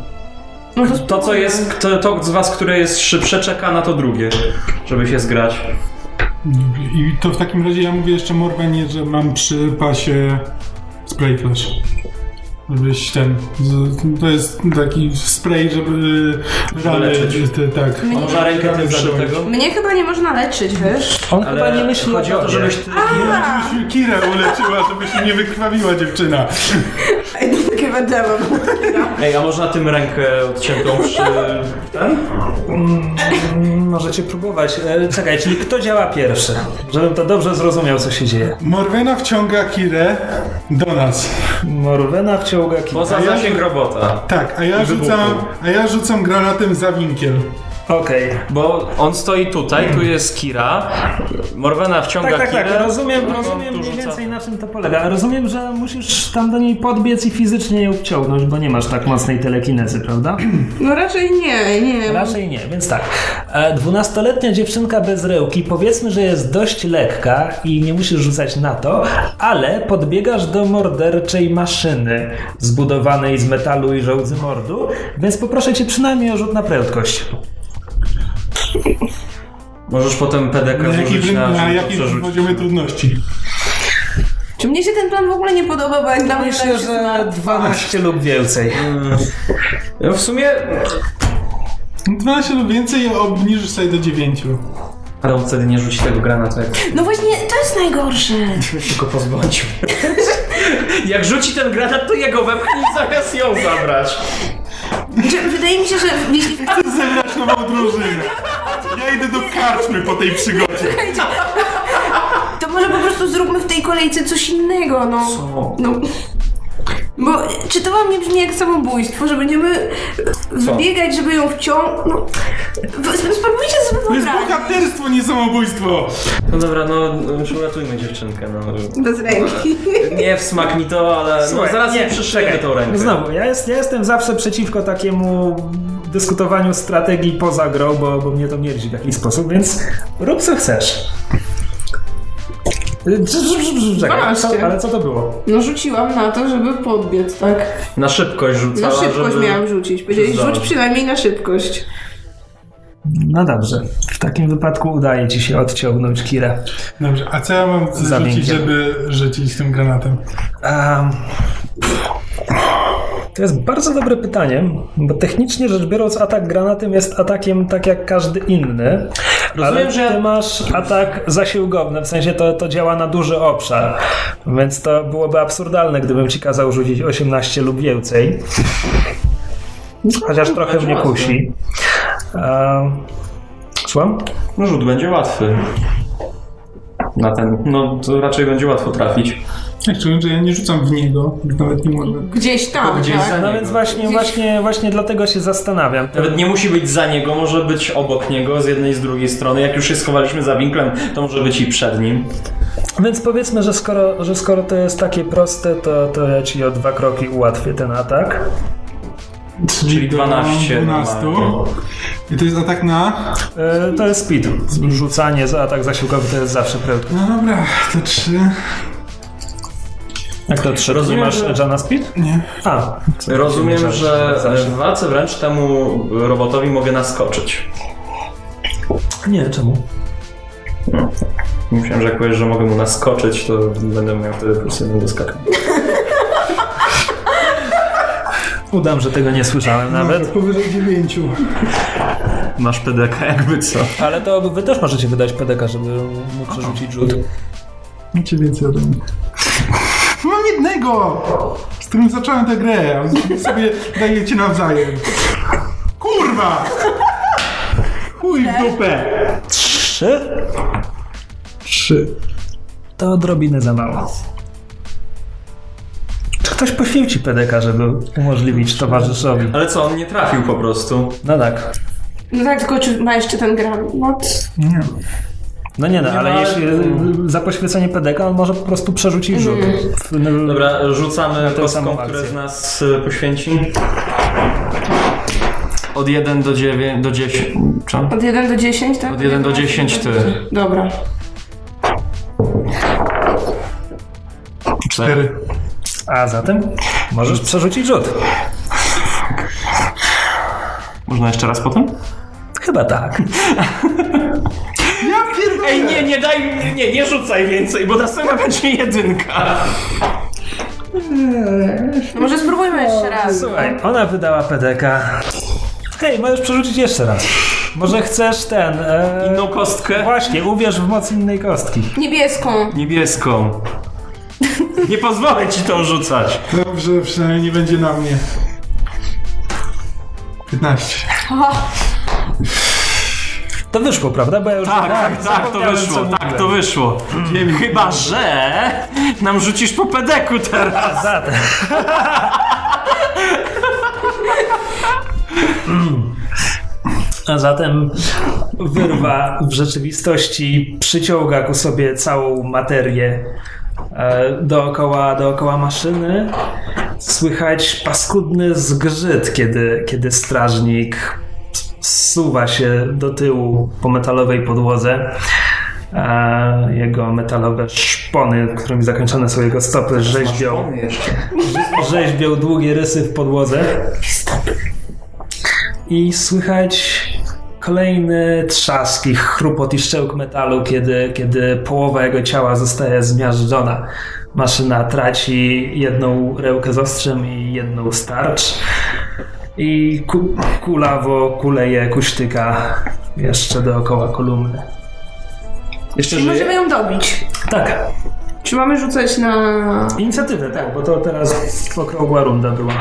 Speaker 4: No
Speaker 2: To, co jest, kto- to z was, które jest szybsze, czeka na to drugie, żeby się zgrać.
Speaker 3: I to w takim razie ja mówię jeszcze Morganie, że mam przy pasie spray flash. Żebyś ten. z- To jest taki spray, żeby rany.
Speaker 2: leczyć.
Speaker 3: Te, tak.
Speaker 4: Mnie,
Speaker 2: Można rękę tym wziąć do tego.
Speaker 4: mnie chyba nie można leczyć, wiesz?
Speaker 1: On
Speaker 2: Ale
Speaker 1: chyba nie myśli o
Speaker 2: chodzi o to,
Speaker 1: tobie.
Speaker 2: żebyś ty...
Speaker 3: Żebyś Kirę uleczyła, żeby się nie wykrwawiła dziewczyna.
Speaker 4: Ej, to takie będziemy.
Speaker 2: Ej, a można tym rękę odciętą przy... Ten?
Speaker 1: Mm, Możecie próbować. E, czekaj, czyli kto działa pierwszy? Żebym to dobrze zrozumiał, co się dzieje.
Speaker 3: Morwena wciąga Kirę do nas.
Speaker 1: Morwena wciąga kij.
Speaker 2: Poza
Speaker 3: A ja-
Speaker 2: zasięg robota.
Speaker 3: Tak, a ja,
Speaker 2: wybuchu.
Speaker 3: rzucam, a ja rzucam granatem za winkiel.
Speaker 1: Okej.
Speaker 5: Bo on stoi tutaj, tu jest Kira. Morwena wciąga
Speaker 1: Tak, tak, tak.
Speaker 5: Kirę.
Speaker 1: Rozumiem,
Speaker 5: Ona
Speaker 1: rozumiem
Speaker 5: tu
Speaker 1: mniej
Speaker 5: rzuca.
Speaker 1: więcej na czym to polega. Rozumiem, że musisz tam do niej podbiec i fizycznie ją wciągnąć, bo nie masz tak mocnej telekinezy, prawda?
Speaker 4: No raczej nie, nie.
Speaker 1: Raczej nie, więc tak. E, Dwunastoletnia dziewczynka bez rełki, powiedzmy, że jest dość lekka i nie musisz rzucać na to, ale podbiegasz do morderczej maszyny zbudowanej z metalu i żołdzy mordu, więc poproszę cię przynajmniej o rzut na prędkość.
Speaker 2: Możesz potem
Speaker 3: Na
Speaker 2: PDK
Speaker 3: jakim,
Speaker 2: zużyć na,
Speaker 3: na
Speaker 2: żeby to
Speaker 3: jakim
Speaker 2: przerzucić. no.
Speaker 3: poziomie trudności?
Speaker 4: Czy mnie się ten plan w ogóle nie podoba, bo jak dla mnie to jest na-
Speaker 1: 12 lub więcej.
Speaker 2: Mm. No w sumie...
Speaker 3: 12 lub więcej obniżysz sobie do 9.
Speaker 2: Ale on wtedy nie rzuci tego granatu, jak
Speaker 4: No właśnie, to jest najgorsze.
Speaker 2: się go pozbądźmy. jak rzuci ten granat, to jego wepchnij zamiast ją zabrać.
Speaker 4: Że, wydaje mi się, że jeśli
Speaker 3: Zebrać nową drużynę. Ja idę do karczmy po tej przygodzie.
Speaker 4: to może po prostu zróbmy w tej kolejce coś innego, no.
Speaker 2: Co?
Speaker 4: No. Bo czy to wam nie brzmi jak samobójstwo, że będziemy wybiegać, żeby ją wciągnąć? No. W- Spróbujcie sobie
Speaker 3: To jest
Speaker 4: wyobrazić.
Speaker 3: bohaterstwo, nie samobójstwo.
Speaker 2: No dobra, no już uratujmy dziewczynkę, no.
Speaker 4: Bez ręki.
Speaker 2: Nie w smak mi to, ale
Speaker 1: Słuchaj,
Speaker 2: no, zaraz
Speaker 1: nie,
Speaker 2: nie przyszyję tą rękę.
Speaker 1: No Znowu, ja, jest, ja jestem zawsze przeciwko takiemu dyskutowaniu strategii poza grą, bo, bo mnie to mierdzi w jakiś sposób, więc rób co chcesz. Y, brz, brz, brz, brz, Czekaj, co,
Speaker 4: 12.
Speaker 1: ale co to było?
Speaker 4: No rzuciłam na to, żeby podbiec, tak?
Speaker 2: Na szybkość
Speaker 4: Na
Speaker 2: rzucała,
Speaker 4: szybkość
Speaker 2: żeby...
Speaker 4: miałam rzucić. Powiedziałeś,
Speaker 2: Zdałem.
Speaker 4: rzuć przynajmniej na szybkość.
Speaker 1: No dobrze, w takim wypadku udaje ci się odciągnąć Kirę.
Speaker 3: Dobrze, a co ja mam
Speaker 1: Za
Speaker 3: zrzucić,
Speaker 1: miękkiem.
Speaker 3: żeby rzucić tym granatem?
Speaker 1: Em, to jest bardzo dobre pytanie, bo technicznie rzecz biorąc atak granatem jest atakiem tak jak każdy inny, ale
Speaker 2: Rozumiem, że-
Speaker 1: ty masz atak zasiłgowny, w sensie to, to działa na duży obszar, więc to byłoby absurdalne, gdybym ci kazał rzucić 18 lub więcej. Chociaż trochę mnie kusi. Um, Słucham?
Speaker 2: No rzut będzie łatwy. Na ten, no to raczej będzie łatwo trafić.
Speaker 3: Jak czułem, że ja nie rzucam w niego, nawet nie mogę.
Speaker 4: Gdzieś tam,
Speaker 2: Gdzieś
Speaker 4: tak?
Speaker 2: za
Speaker 1: No
Speaker 2: niego.
Speaker 1: więc właśnie, właśnie, właśnie dlatego się zastanawiam.
Speaker 2: Nawet nie musi być za niego, może być obok niego, z jednej i z drugiej strony. Jak już się schowaliśmy za winklem, to może być i przed nim.
Speaker 1: Więc powiedzmy, że skoro, że skoro to jest takie proste, to, to ja ci o dwa kroki ułatwię ten atak.
Speaker 2: Czyli 12.
Speaker 3: 12.
Speaker 2: normalnie.
Speaker 3: I to jest atak na...
Speaker 1: E, to jest speed. Rzucanie za atak zasiłkowy to jest zawsze prędko.
Speaker 3: No dobra, to 3.
Speaker 1: Jak to trzy?
Speaker 2: Rozumiem,
Speaker 1: Nie masz
Speaker 2: że-
Speaker 1: Jana speed?
Speaker 3: Nie.
Speaker 1: A.
Speaker 2: Rozumiem, że
Speaker 1: Zawsze.
Speaker 2: w walce wręcz temu robotowi mogę naskoczyć.
Speaker 1: Nie, czemu?
Speaker 2: Myślałem, że jak powiesz, że mogę mu naskoczyć, to będę miał wtedy plus jeden do skakania.
Speaker 1: Udam, że tego nie słyszałem nawet.
Speaker 3: Powyżej 9.
Speaker 2: Masz PDK jakby co.
Speaker 1: Ale to wy też możecie wydać PDK, żeby mu przerzucić rzut.
Speaker 3: Macie więcej ode mnie. Mam jednego, z którym zacząłem tę grę. a sobie dajecie nawzajem. Kurwa! Chuj w dupę!
Speaker 1: Trzy?
Speaker 3: Trzy.
Speaker 1: To odrobinę za mało. Czy ktoś poświęci PDK, żeby umożliwić towarzyszowi?
Speaker 2: Ale co, on nie trafił po prostu.
Speaker 1: No tak.
Speaker 4: No tak, tylko czy ma jeszcze ten granat?
Speaker 3: Nie.
Speaker 1: No nie no,
Speaker 2: Nie
Speaker 1: ale
Speaker 2: ma-
Speaker 1: jeśli y, za poświęcenie PDK, on może po prostu przerzucić rzut. W- no,
Speaker 2: Dobra, rzucamy
Speaker 1: tę samą
Speaker 2: kostką,
Speaker 1: akcję.
Speaker 2: które z nas y, poświęci.
Speaker 5: Od 1 do 9, do 10. Czemu?
Speaker 4: Od 1 do 10, tak?
Speaker 5: Od 1 do 10 ty.
Speaker 4: Dobra.
Speaker 3: Cztery.
Speaker 1: A zatem możesz przerzucić rzut.
Speaker 5: Można jeszcze raz potem?
Speaker 1: Chyba tak.
Speaker 3: Ja pierdolę!
Speaker 5: Ej, nie, nie daj, nie, nie rzucaj więcej, bo następna będzie jedynka.
Speaker 4: No może spróbujmy jeszcze raz.
Speaker 1: Słuchaj, ona wydała PDK. Hej, możesz przerzucić jeszcze raz. Może chcesz ten... E...
Speaker 5: Inną kostkę?
Speaker 1: Właśnie, uwierz w moc innej kostki.
Speaker 4: Niebieską.
Speaker 5: Niebieską. Nie pozwolę ci tą rzucać.
Speaker 3: Dobrze, przynajmniej nie będzie na mnie. 15.
Speaker 1: To wyszło, prawda? Bo ja już
Speaker 5: Tak,
Speaker 1: Tak,
Speaker 5: tak, tak, to
Speaker 1: zapomniałem, co
Speaker 5: wyszło, tak, to
Speaker 1: mówiłem.
Speaker 5: wyszło.
Speaker 3: Dziewięć.
Speaker 5: Chyba, że nam rzucisz po pedeku teraz.
Speaker 1: A zatem... Mm. A zatem wyrwa w rzeczywistości przyciąga ku sobie całą materię e, dookoła, dookoła maszyny. Słychać paskudny zgrzyt, kiedy, kiedy strażnik zsuwa się do tyłu po metalowej podłodze. E, Jego metalowe szpony, którymi zakończone są jego stopy, rzeźbią, rzeźbią długie rysy w podłodze. I słychać kolejny trzask i chrupot i szczełk metalu, kiedy, kiedy połowa jego ciała zostaje zmiażdżona. Maszyna traci jedną rełkę z ostrzem i jedną starcz. I ku, kulawo kuleje, kuśtyka jeszcze dookoła kolumny.
Speaker 6: Jeszcze
Speaker 4: Czy
Speaker 6: żyje?
Speaker 4: możemy ją dobić?
Speaker 1: Tak,
Speaker 4: Czy mamy rzucać na...
Speaker 1: inicjatywę, tak, bo to teraz okrągła runda była.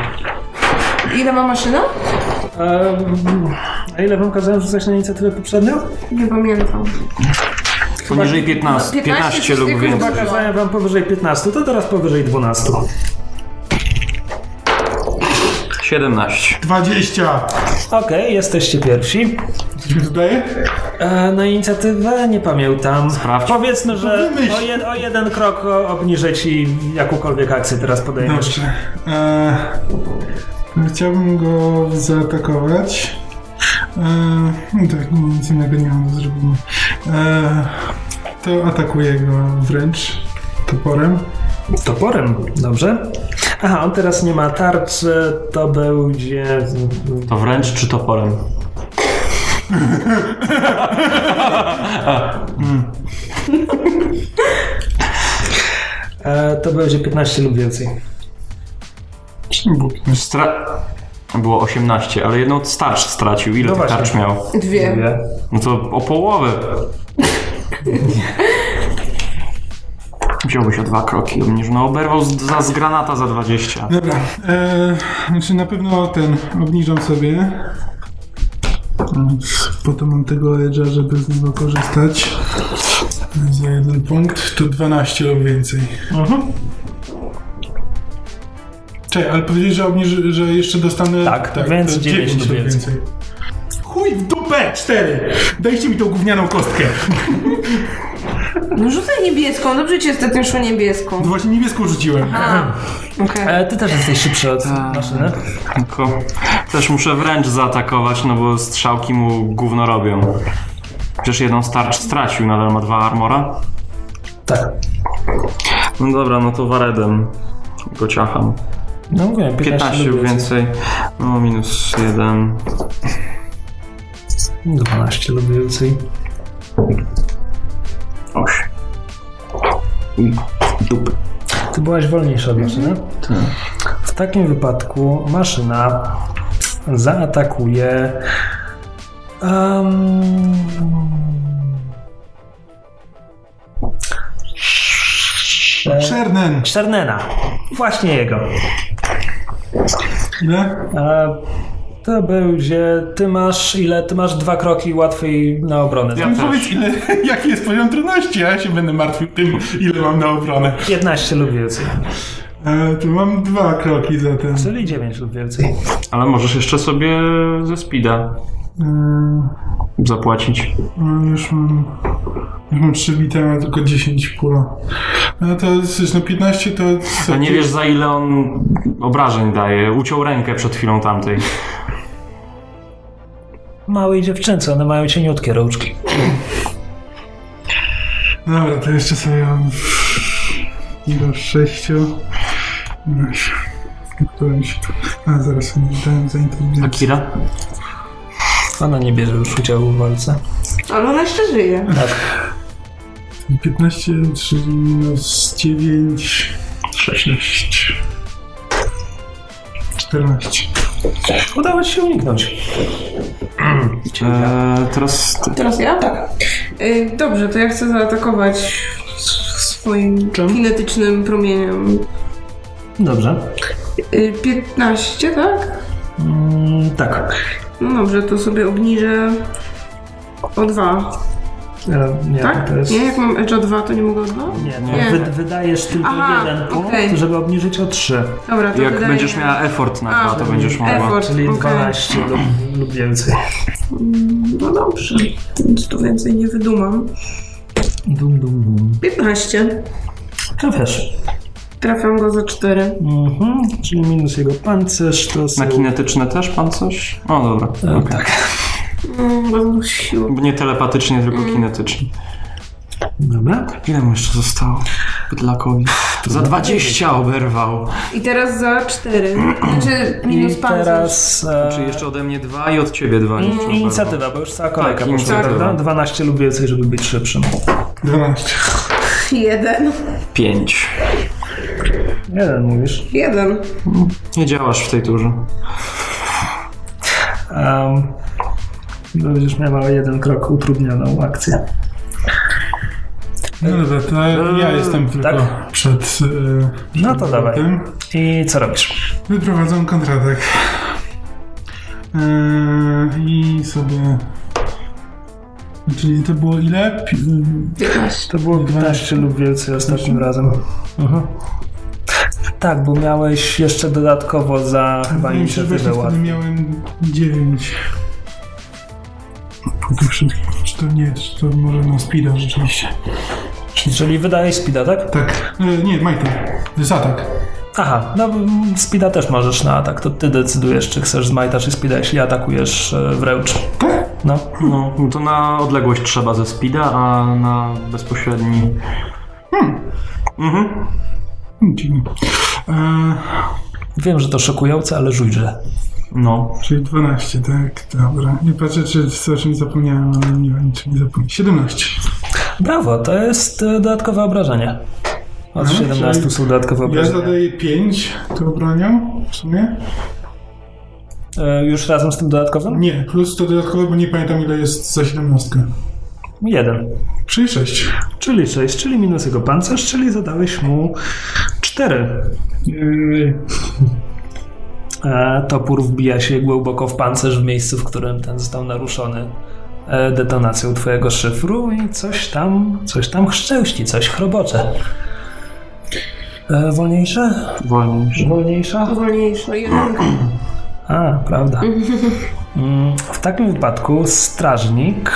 Speaker 4: Ile ma maszyna?
Speaker 1: Ehm, A ile wam kazałem rzucać na inicjatywę poprzednią?
Speaker 4: Nie pamiętam.
Speaker 2: Poniżej 15,
Speaker 4: 15
Speaker 2: 15 lub
Speaker 4: coś
Speaker 2: więcej.
Speaker 4: takiego.
Speaker 1: Chyba kazałem wam powyżej 15, to teraz powyżej 12.
Speaker 2: 17.
Speaker 3: 20!
Speaker 1: Okej, jesteście pierwsi.
Speaker 3: Coś mi dodaje?
Speaker 1: E, na inicjatywę nie pamiętam.
Speaker 2: Sprawdź.
Speaker 1: Powiedzmy, że
Speaker 3: No wymyśl.
Speaker 1: o, jed, o jeden krok o- obniżę ci jakąkolwiek akcję teraz podejmiesz.
Speaker 3: Dobrze. E, chciałbym go zaatakować. E, no tak, nic innego nie mam do zrobienia. E, to atakuję go wręcz toporem. No.
Speaker 1: Toporem, dobrze? Aha, on teraz nie ma tarczy, to będzie...
Speaker 2: To wręcz czy toporem?
Speaker 1: E, to będzie 15 lub więcej.
Speaker 2: Stra... Było 18, ale jedną starcz stracił. Ile
Speaker 1: No
Speaker 2: tych
Speaker 1: właśnie.
Speaker 2: tarcz miał?
Speaker 4: Dwie.
Speaker 1: Dwie.
Speaker 2: No to o połowę. Wziąłbyś o dwa kroki od mnie, że no oberwał z, za, z granata za 20.
Speaker 3: Dobra. E, znaczy na pewno ten obniżam sobie. Mm, Po to mam tego edge'a, żeby z niego korzystać. Za jeden punkt to 12 lub więcej.
Speaker 1: Mhm.
Speaker 3: Czekaj, ale powiedziałeś, że, obniży, że jeszcze dostanę...
Speaker 1: Tak, więc
Speaker 3: to
Speaker 1: dziewięć
Speaker 3: dziewięć
Speaker 1: lub więcej.
Speaker 3: Chuj w dupę! Cztery! Dajcie mi tą gównianą kostkę.
Speaker 4: No rzucaj niebieską, dobrze ci ostatnio szło niebieską.
Speaker 3: No właśnie niebieską rzuciłem.
Speaker 4: A, okej.
Speaker 1: E, ty też jesteś szybszy od
Speaker 2: Tak.
Speaker 1: maszyny.
Speaker 2: Tylko też muszę wręcz zaatakować, no bo strzałki mu gówno robią. Przecież jedną starcz stracił, nadal ma dwa armora.
Speaker 1: Tak.
Speaker 2: No dobra, no to waredem go ciacham.
Speaker 1: No mówię, 15,
Speaker 2: 15
Speaker 1: lub
Speaker 2: lub więcej. No minus jeden.
Speaker 1: 12 lub więcej.
Speaker 2: 8. Dupy.
Speaker 1: Ty byłaś wolniejsza od maszyny? W takim wypadku maszyna zaatakuje. Um,
Speaker 3: Czernen.
Speaker 1: Czernena. Właśnie jego.
Speaker 3: Ile?
Speaker 1: A to będzie. Ty masz ile? Ty masz dwa kroki łatwiej na obronę.
Speaker 2: Ja
Speaker 3: Mi
Speaker 2: też.
Speaker 3: powiedz ile, jaki jest poziom trudności, a ja się będę martwił tym, ile mam na obronę.
Speaker 1: 15 lub więcej.
Speaker 3: E, tu mam dwa kroki zatem.
Speaker 1: Czyli 9 lub więcej.
Speaker 2: Ale możesz jeszcze sobie ze speeda
Speaker 3: E,
Speaker 2: zapłacić.
Speaker 3: No już mam. Już mam 3 bite, a tylko 10 pula. No to jest, no 15 to.
Speaker 2: A
Speaker 3: Co,
Speaker 2: nie wiesz za ile on obrażeń daje. Uciął rękę przed chwilą tamtej.
Speaker 1: Małej dziewczynce, one mają cieniutkie rączki.
Speaker 3: Dobra, to jeszcze sobie mam. Do 6. Którym się. A zaraz nie dałem za inteligencję.
Speaker 2: Akira?
Speaker 1: Ona nie bierze już udziału w walce. Tak.
Speaker 4: Ale ona jeszcze żyje.
Speaker 3: 15, 3 minus 9. 6. 14.
Speaker 1: Udało ci się uniknąć.
Speaker 2: Eee, teraz ty.
Speaker 4: Teraz ja? Tak. Y, dobrze, to ja chcę zaatakować s- swoim
Speaker 3: Czym?
Speaker 4: kinetycznym promieniem.
Speaker 1: Dobrze.
Speaker 4: Y, 15, tak?
Speaker 1: Mm, tak.
Speaker 4: No dobrze, to sobie obniżę o 2.
Speaker 1: E, nie,
Speaker 4: Tak?
Speaker 1: to jest...
Speaker 4: Ja jak mam edge'a 2, to nie mogę o 2?
Speaker 1: Nie,
Speaker 4: Nie.
Speaker 1: Wy, wydajesz tylko
Speaker 4: Aha,
Speaker 1: jeden punkt,
Speaker 4: okej.
Speaker 1: żeby obniżyć o 3.
Speaker 4: Dobra, to
Speaker 2: Jak
Speaker 4: wydaje...
Speaker 2: będziesz miała effort na
Speaker 4: A,
Speaker 2: dwa, to będziesz mogła.
Speaker 4: effort.
Speaker 1: Czyli
Speaker 4: okej.
Speaker 1: 12 lub, lub więcej.
Speaker 4: No dobrze, nic tu więcej nie wydumam.
Speaker 1: Dum, dum, dum.
Speaker 4: 15.
Speaker 1: Trafiasz.
Speaker 4: Trafiam go za 4.
Speaker 1: Mhm. Czyli minus jego pancerz, to są...
Speaker 2: Na kinetyczne też pan coś? O, dobra.
Speaker 1: E,
Speaker 2: okej.
Speaker 1: Tak.
Speaker 4: Mm, bo siła.
Speaker 2: Nie telepatycznie, tylko kinetycznie.
Speaker 1: Dobra.
Speaker 2: Ile mu jeszcze zostało? Bydlakowi. Za 20 oberwał.
Speaker 4: I teraz za 4. Znaczy
Speaker 1: I
Speaker 4: minus pancerz.
Speaker 1: teraz... E,
Speaker 2: Czyli jeszcze ode mnie dwa i od ciebie dwa. jeszcze
Speaker 1: Mm,
Speaker 2: oberwał.
Speaker 1: Inicjatywa, bo już cała kolejka
Speaker 2: Tak,
Speaker 1: poszła,
Speaker 2: inicjatywa.
Speaker 1: prawda? 12 lub więcej, żeby być szybszym.
Speaker 3: 12.
Speaker 4: Jeden.
Speaker 2: Pięć.
Speaker 1: Jeden mówisz.
Speaker 4: Jeden.
Speaker 2: Nie działasz w tej turze.
Speaker 1: Um, będziesz miała o jeden krok utrudnioną akcję.
Speaker 3: No dobra, to ja
Speaker 2: Eee,
Speaker 3: jestem tylko
Speaker 1: tak?
Speaker 3: przed. e,
Speaker 1: No to dawaj.
Speaker 3: tym.
Speaker 1: I co robisz?
Speaker 3: Wyprowadzam kontratak. Eee, I sobie. Czyli to było ile? Pi-
Speaker 1: To było
Speaker 3: 15
Speaker 1: 15 lub więcej ostatnim razem. Tak, bo miałeś jeszcze dodatkowo za chyba
Speaker 3: Wydaje mi się, że
Speaker 1: inicjatywę
Speaker 3: właśnie wtedy
Speaker 1: łatwiej.
Speaker 3: miałem 9. Czy to nie, czy to może na speeda rzeczywiście.
Speaker 1: Czyli wydajesz speeda, tak?
Speaker 3: Tak. E, nie, Majta. To jest atak.
Speaker 1: Aha, no mm, speeda też możesz na atak. To ty decydujesz, czy chcesz zmajta, czy speeda, jeśli atakujesz e, wręcz.
Speaker 3: Tak?
Speaker 1: No.
Speaker 2: No, to na odległość trzeba ze speeda, a na bezpośredni... Hmm. Mhm.
Speaker 3: Hmm, Dziwne. Eee,
Speaker 1: Wiem, że to szokujące, ale żujże.
Speaker 2: No.
Speaker 3: czyli 12, tak, dobra. Nie patrzę, czy coś mi zapomniałem, ale nie o niczym nie zapomniałem. 17.
Speaker 1: Brawo, to jest e, dodatkowe obrażenie. Od
Speaker 3: Mhm,
Speaker 1: 17
Speaker 3: czyli
Speaker 1: są dodatkowe
Speaker 3: Ja
Speaker 1: obrażenia.
Speaker 3: zadaję 5 tą bronią w sumie.
Speaker 1: E, Już razem z tym dodatkowym?
Speaker 3: Nie, plus to dodatkowe, bo nie pamiętam ile jest za 17.
Speaker 1: Jeden.
Speaker 3: Czyli 6.
Speaker 1: Czyli 6, czyli minus jego pancerz, czyli zadałeś mu 4. E, topór wbija się głęboko w pancerz w miejscu, w którym ten został naruszony e, detonacją twojego szyfru i coś tam, coś tam chrzęści, coś chrobocze. E, wolniejsze?
Speaker 2: Wolniejszy.
Speaker 1: Wolniejsza?
Speaker 4: Wolniejsze. Jeden.
Speaker 1: A, prawda. Mm, W takim wypadku strażnik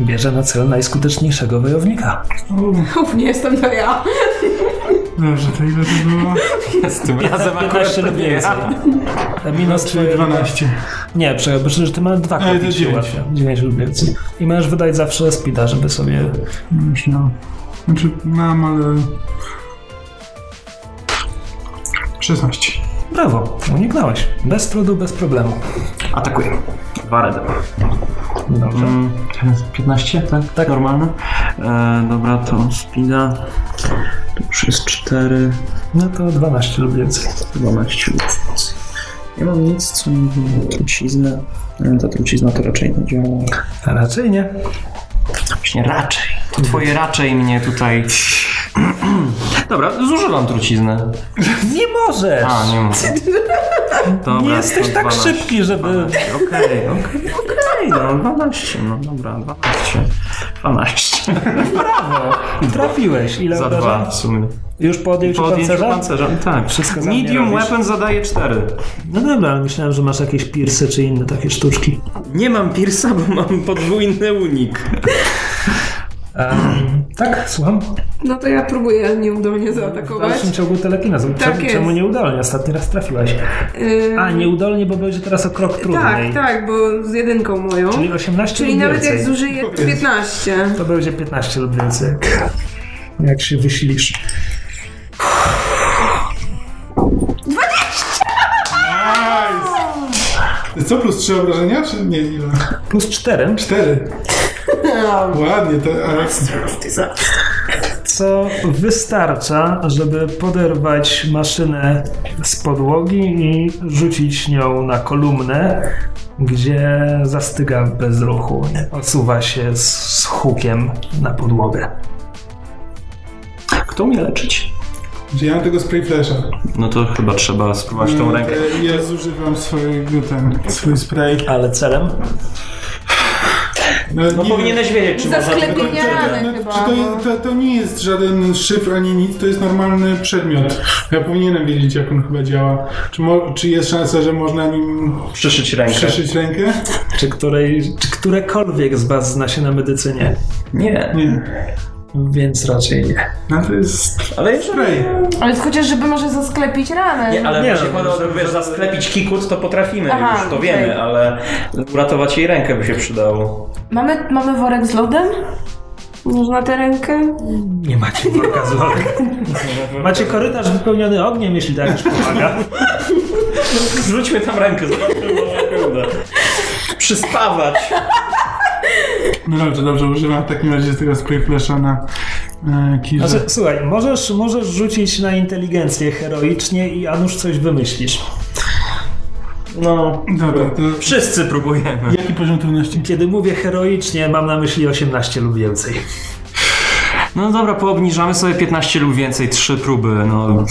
Speaker 1: bierze na cel najskuteczniejszego wojownika.
Speaker 4: Uf, nie jestem to ja.
Speaker 3: Dobrze, to ile to było?
Speaker 2: Z tym razem akurat
Speaker 1: 15
Speaker 2: to
Speaker 1: lub
Speaker 2: nie
Speaker 1: więcej.
Speaker 2: ja.
Speaker 1: E, Minus
Speaker 3: Czyli
Speaker 1: twoje-
Speaker 3: 12.
Speaker 1: Nie, przepraszam, że ty masz dwa
Speaker 3: Ale to
Speaker 1: kopii
Speaker 3: dziewięć.
Speaker 1: łatwiej. 9 lub więcej. I możesz wydać zawsze speeda, żeby sobie...
Speaker 3: Już miałem. Znaczy mam, ale... 16.
Speaker 1: Brawo, uniknąłeś. Bez trudu, bez problemu.
Speaker 2: Atakuję. Dwa redy.
Speaker 1: Dobrze.
Speaker 2: Mm, 15, tak? Tak, normalne. E, dobra, to spina. To już jest 4,
Speaker 1: No to 12 lub więcej.
Speaker 2: 12.
Speaker 7: Nie mam nic, co mi truciznę. Ale Ta trucizna to raczej nie działa.
Speaker 1: A raczej nie.
Speaker 2: Właśnie raczej. To twoje raczej mnie tutaj... Dobra, zużywam truciznę.
Speaker 1: Nie możesz!
Speaker 2: A, nie mówię. Dobra,
Speaker 1: nie
Speaker 2: to
Speaker 1: jesteś tak
Speaker 2: 12.
Speaker 1: szybki, żeby...
Speaker 2: 12, Okej, okej, okej, no 12, no dobra, 12. 12.
Speaker 1: Trafiłeś. Ile
Speaker 2: Za
Speaker 1: obrażeń?
Speaker 2: dwa w sumie.
Speaker 1: Już po odjęciu
Speaker 2: Po odjęciu
Speaker 1: pancerza?
Speaker 2: pancerza, tak.
Speaker 1: Wszystko za mnie
Speaker 2: Medium
Speaker 1: robisz.
Speaker 2: weapon zadaje 4.
Speaker 1: No dobra, ale myślałem, że masz jakieś piersy czy inne takie sztuczki.
Speaker 2: Nie mam Piersa, bo mam podwójny unik.
Speaker 1: tak, słucham.
Speaker 4: No to ja próbuję nieudolnie
Speaker 1: W
Speaker 4: zaatakować.
Speaker 1: dalszym ciągu telekinezm.
Speaker 4: Tak
Speaker 1: czemu,
Speaker 4: jest.
Speaker 1: czemu nieudolnie? Ostatni raz trafiłaś.
Speaker 4: Ym,
Speaker 1: A, nieudolnie, bo będzie teraz o krok trudniej.
Speaker 4: Y, Mhm. tak, tak, bo z jedynką moją.
Speaker 1: Czyli 18
Speaker 4: Czyli
Speaker 1: lub
Speaker 4: nawet
Speaker 1: więcej.
Speaker 4: jak zużyję 15.
Speaker 1: To będzie 15 lub więcej. jak- Jak się wysilisz.
Speaker 3: 20! Co, plus 3 obrażenia, czy nie? Ile?
Speaker 1: Plus 4,
Speaker 3: 4. Ładnie, to... Ale...
Speaker 1: co wystarcza, żeby poderwać maszynę z podłogi i rzucić nią na kolumnę, gdzie zastyga bez ruchu. Odsuwa się z, z hukiem na podłogę.
Speaker 7: Kto umie leczyć?
Speaker 3: Że ja mam tego spray flasha.
Speaker 2: No to chyba trzeba spróbować tą rękę.
Speaker 3: Ja- Ja zużywam swojego ten, swój spray.
Speaker 1: Ale celem?
Speaker 2: No
Speaker 3: nie-
Speaker 2: powinieneś wiedzieć, czy można...
Speaker 4: Zasklepieniane
Speaker 3: Czy
Speaker 4: chyba.
Speaker 3: to,
Speaker 4: no.
Speaker 3: to, to nie jest żaden szyfr ani nic, to jest normalny przedmiot. Ja powinienem wiedzieć, jak on chyba działa. Czy, mo, czy jest szansa, że można nim
Speaker 2: Przyszyć rękę.
Speaker 3: przeszyć rękę?
Speaker 1: Czy, której, czy którekolwiek z was zna się na medycynie?
Speaker 2: Nie.
Speaker 3: Nie.
Speaker 1: Więc raczej nie.
Speaker 3: No to jest
Speaker 2: Ale jeżeli...
Speaker 3: spray.
Speaker 4: Ale chociaż, żeby może zasklepić ranę.
Speaker 2: Nie, ale
Speaker 1: Nie,
Speaker 2: jeśli
Speaker 1: no,
Speaker 2: chodzi o to, wiesz, zasklepić kikut, to potrafimy
Speaker 4: Aha,
Speaker 2: już, to
Speaker 4: okej.
Speaker 2: wiemy, ale uratować jej rękę by się przydało.
Speaker 4: Mamy, mamy worek z lodem? Można tę rękę?
Speaker 1: Nie macie worka z lodem. Macie korytarz wypełniony ogniem, jeśli tak już pomaga.
Speaker 2: Zrzućmy tam rękę, zobaczmy, może się uda. Przyspawać.
Speaker 3: No dobrze, dobrze, używam w takim razie tego spray flasha na e,
Speaker 2: No
Speaker 3: kirze.
Speaker 1: Znaczy, słuchaj, możesz, możesz rzucić na inteligencję heroicznie i Anusz coś wymyślisz. No,
Speaker 3: Dobra, to
Speaker 2: Wszyscy próbujemy.
Speaker 3: jaki poziom trudności?
Speaker 1: kiedy mówię heroicznie, mam na myśli 18 lub więcej.
Speaker 5: No dobra, poobniżamy sobie 15 lub więcej, 3 próby, no.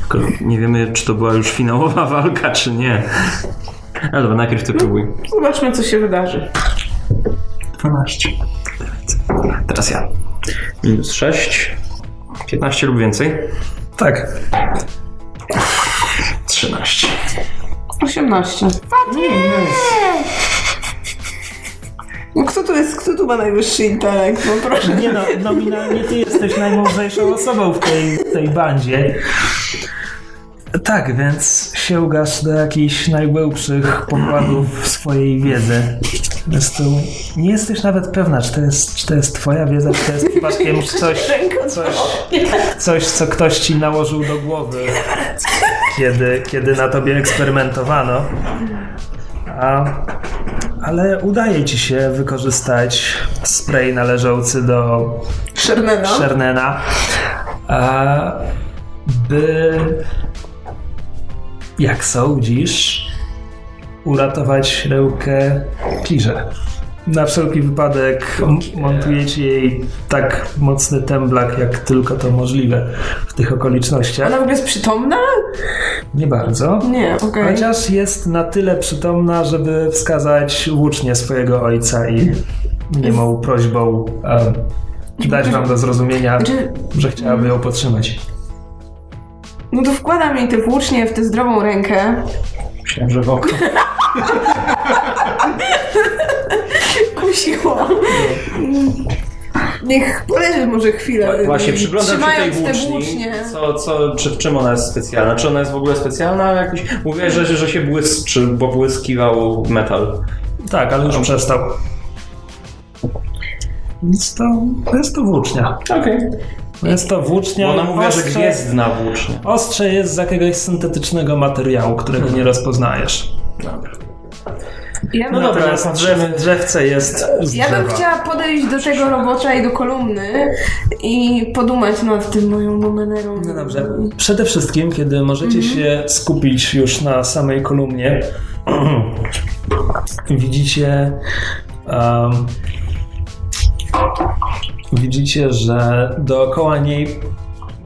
Speaker 5: Tylko nie wiemy, czy to była już finałowa walka, czy nie. Ale dobra, najpierw ty próbuj.
Speaker 4: Zobaczmy, co się wydarzy.
Speaker 3: 12.
Speaker 5: Teraz ja. Minus 6. 15 lub więcej.
Speaker 1: Tak.
Speaker 5: 13.
Speaker 4: 18. No kto tu jest, kto tu ma najwyższy intelekt? No proszę.
Speaker 1: Nie no, nominalnie ty jesteś najmądrzejszą osobą w tej, w tej bandzie. Tak, więc sięgasz do jakichś najgłębszych pokładów swojej wiedzy. Zresztą nie jesteś nawet pewna, czy to jest, czy to jest twoja wiedza, czy to jest przypadkiem coś,
Speaker 4: Ręką
Speaker 1: coś, coś, co ktoś ci nałożył do głowy, kiedy, kiedy na tobie eksperymentowano. A, ale udaje ci się wykorzystać spray należący do
Speaker 4: Szernena.
Speaker 1: Szernena, a, by, jak sądzisz, uratować rękę Kirze. Na wszelki wypadek m- montujecie jej tak mocny temblak, jak tylko to możliwe w tych
Speaker 4: Ona
Speaker 1: okolicznościach.
Speaker 4: w ogóle jest przytomna?
Speaker 1: Nie bardzo.
Speaker 4: Nie, okej.
Speaker 1: Chociaż jest na tyle przytomna, żeby wskazać włócznie swojego ojca i niemą prośbą em, dać wam do zrozumienia,
Speaker 4: Znaczy,
Speaker 1: że chciałaby ją podtrzymać.
Speaker 4: no to wkładam jej te włócznie w tę zdrową rękę.
Speaker 2: Myślałem, że w oko.
Speaker 4: Kusiło. Niech poleży może chwilę. y,
Speaker 2: Właśnie przyglądam się tej
Speaker 4: Trzymając te
Speaker 2: włóczni,
Speaker 4: włócznie.
Speaker 2: co, co, czy w czym ona jest specjalna. Czy ona jest w ogóle specjalna? ale Jakoś... Mówiłeś, że, że się błyszczy, bo błyskiwał metal.
Speaker 1: Tak, ale już przestał. Jest to, jest to włócznia.
Speaker 2: Okej.
Speaker 1: Jest to włócznia.
Speaker 2: Bo ona mówiła, że
Speaker 1: Ostrze-
Speaker 2: gwiezdna włócznia.
Speaker 1: Ostrze jest z jakiegoś syntetycznego materiału, którego nie rozpoznajesz.
Speaker 4: Ja
Speaker 1: No
Speaker 4: bym,
Speaker 2: dobra,
Speaker 1: Natomiast drzew, drzewce jest z
Speaker 4: ja bym
Speaker 1: drzewa.
Speaker 4: chciała podejść do tego robocza i do kolumny i podumać nad tym moją numenerą.
Speaker 1: No dobrze. Przede wszystkim, kiedy możecie się skupić już na samej kolumnie, widzicie. em, widzicie, że dookoła niej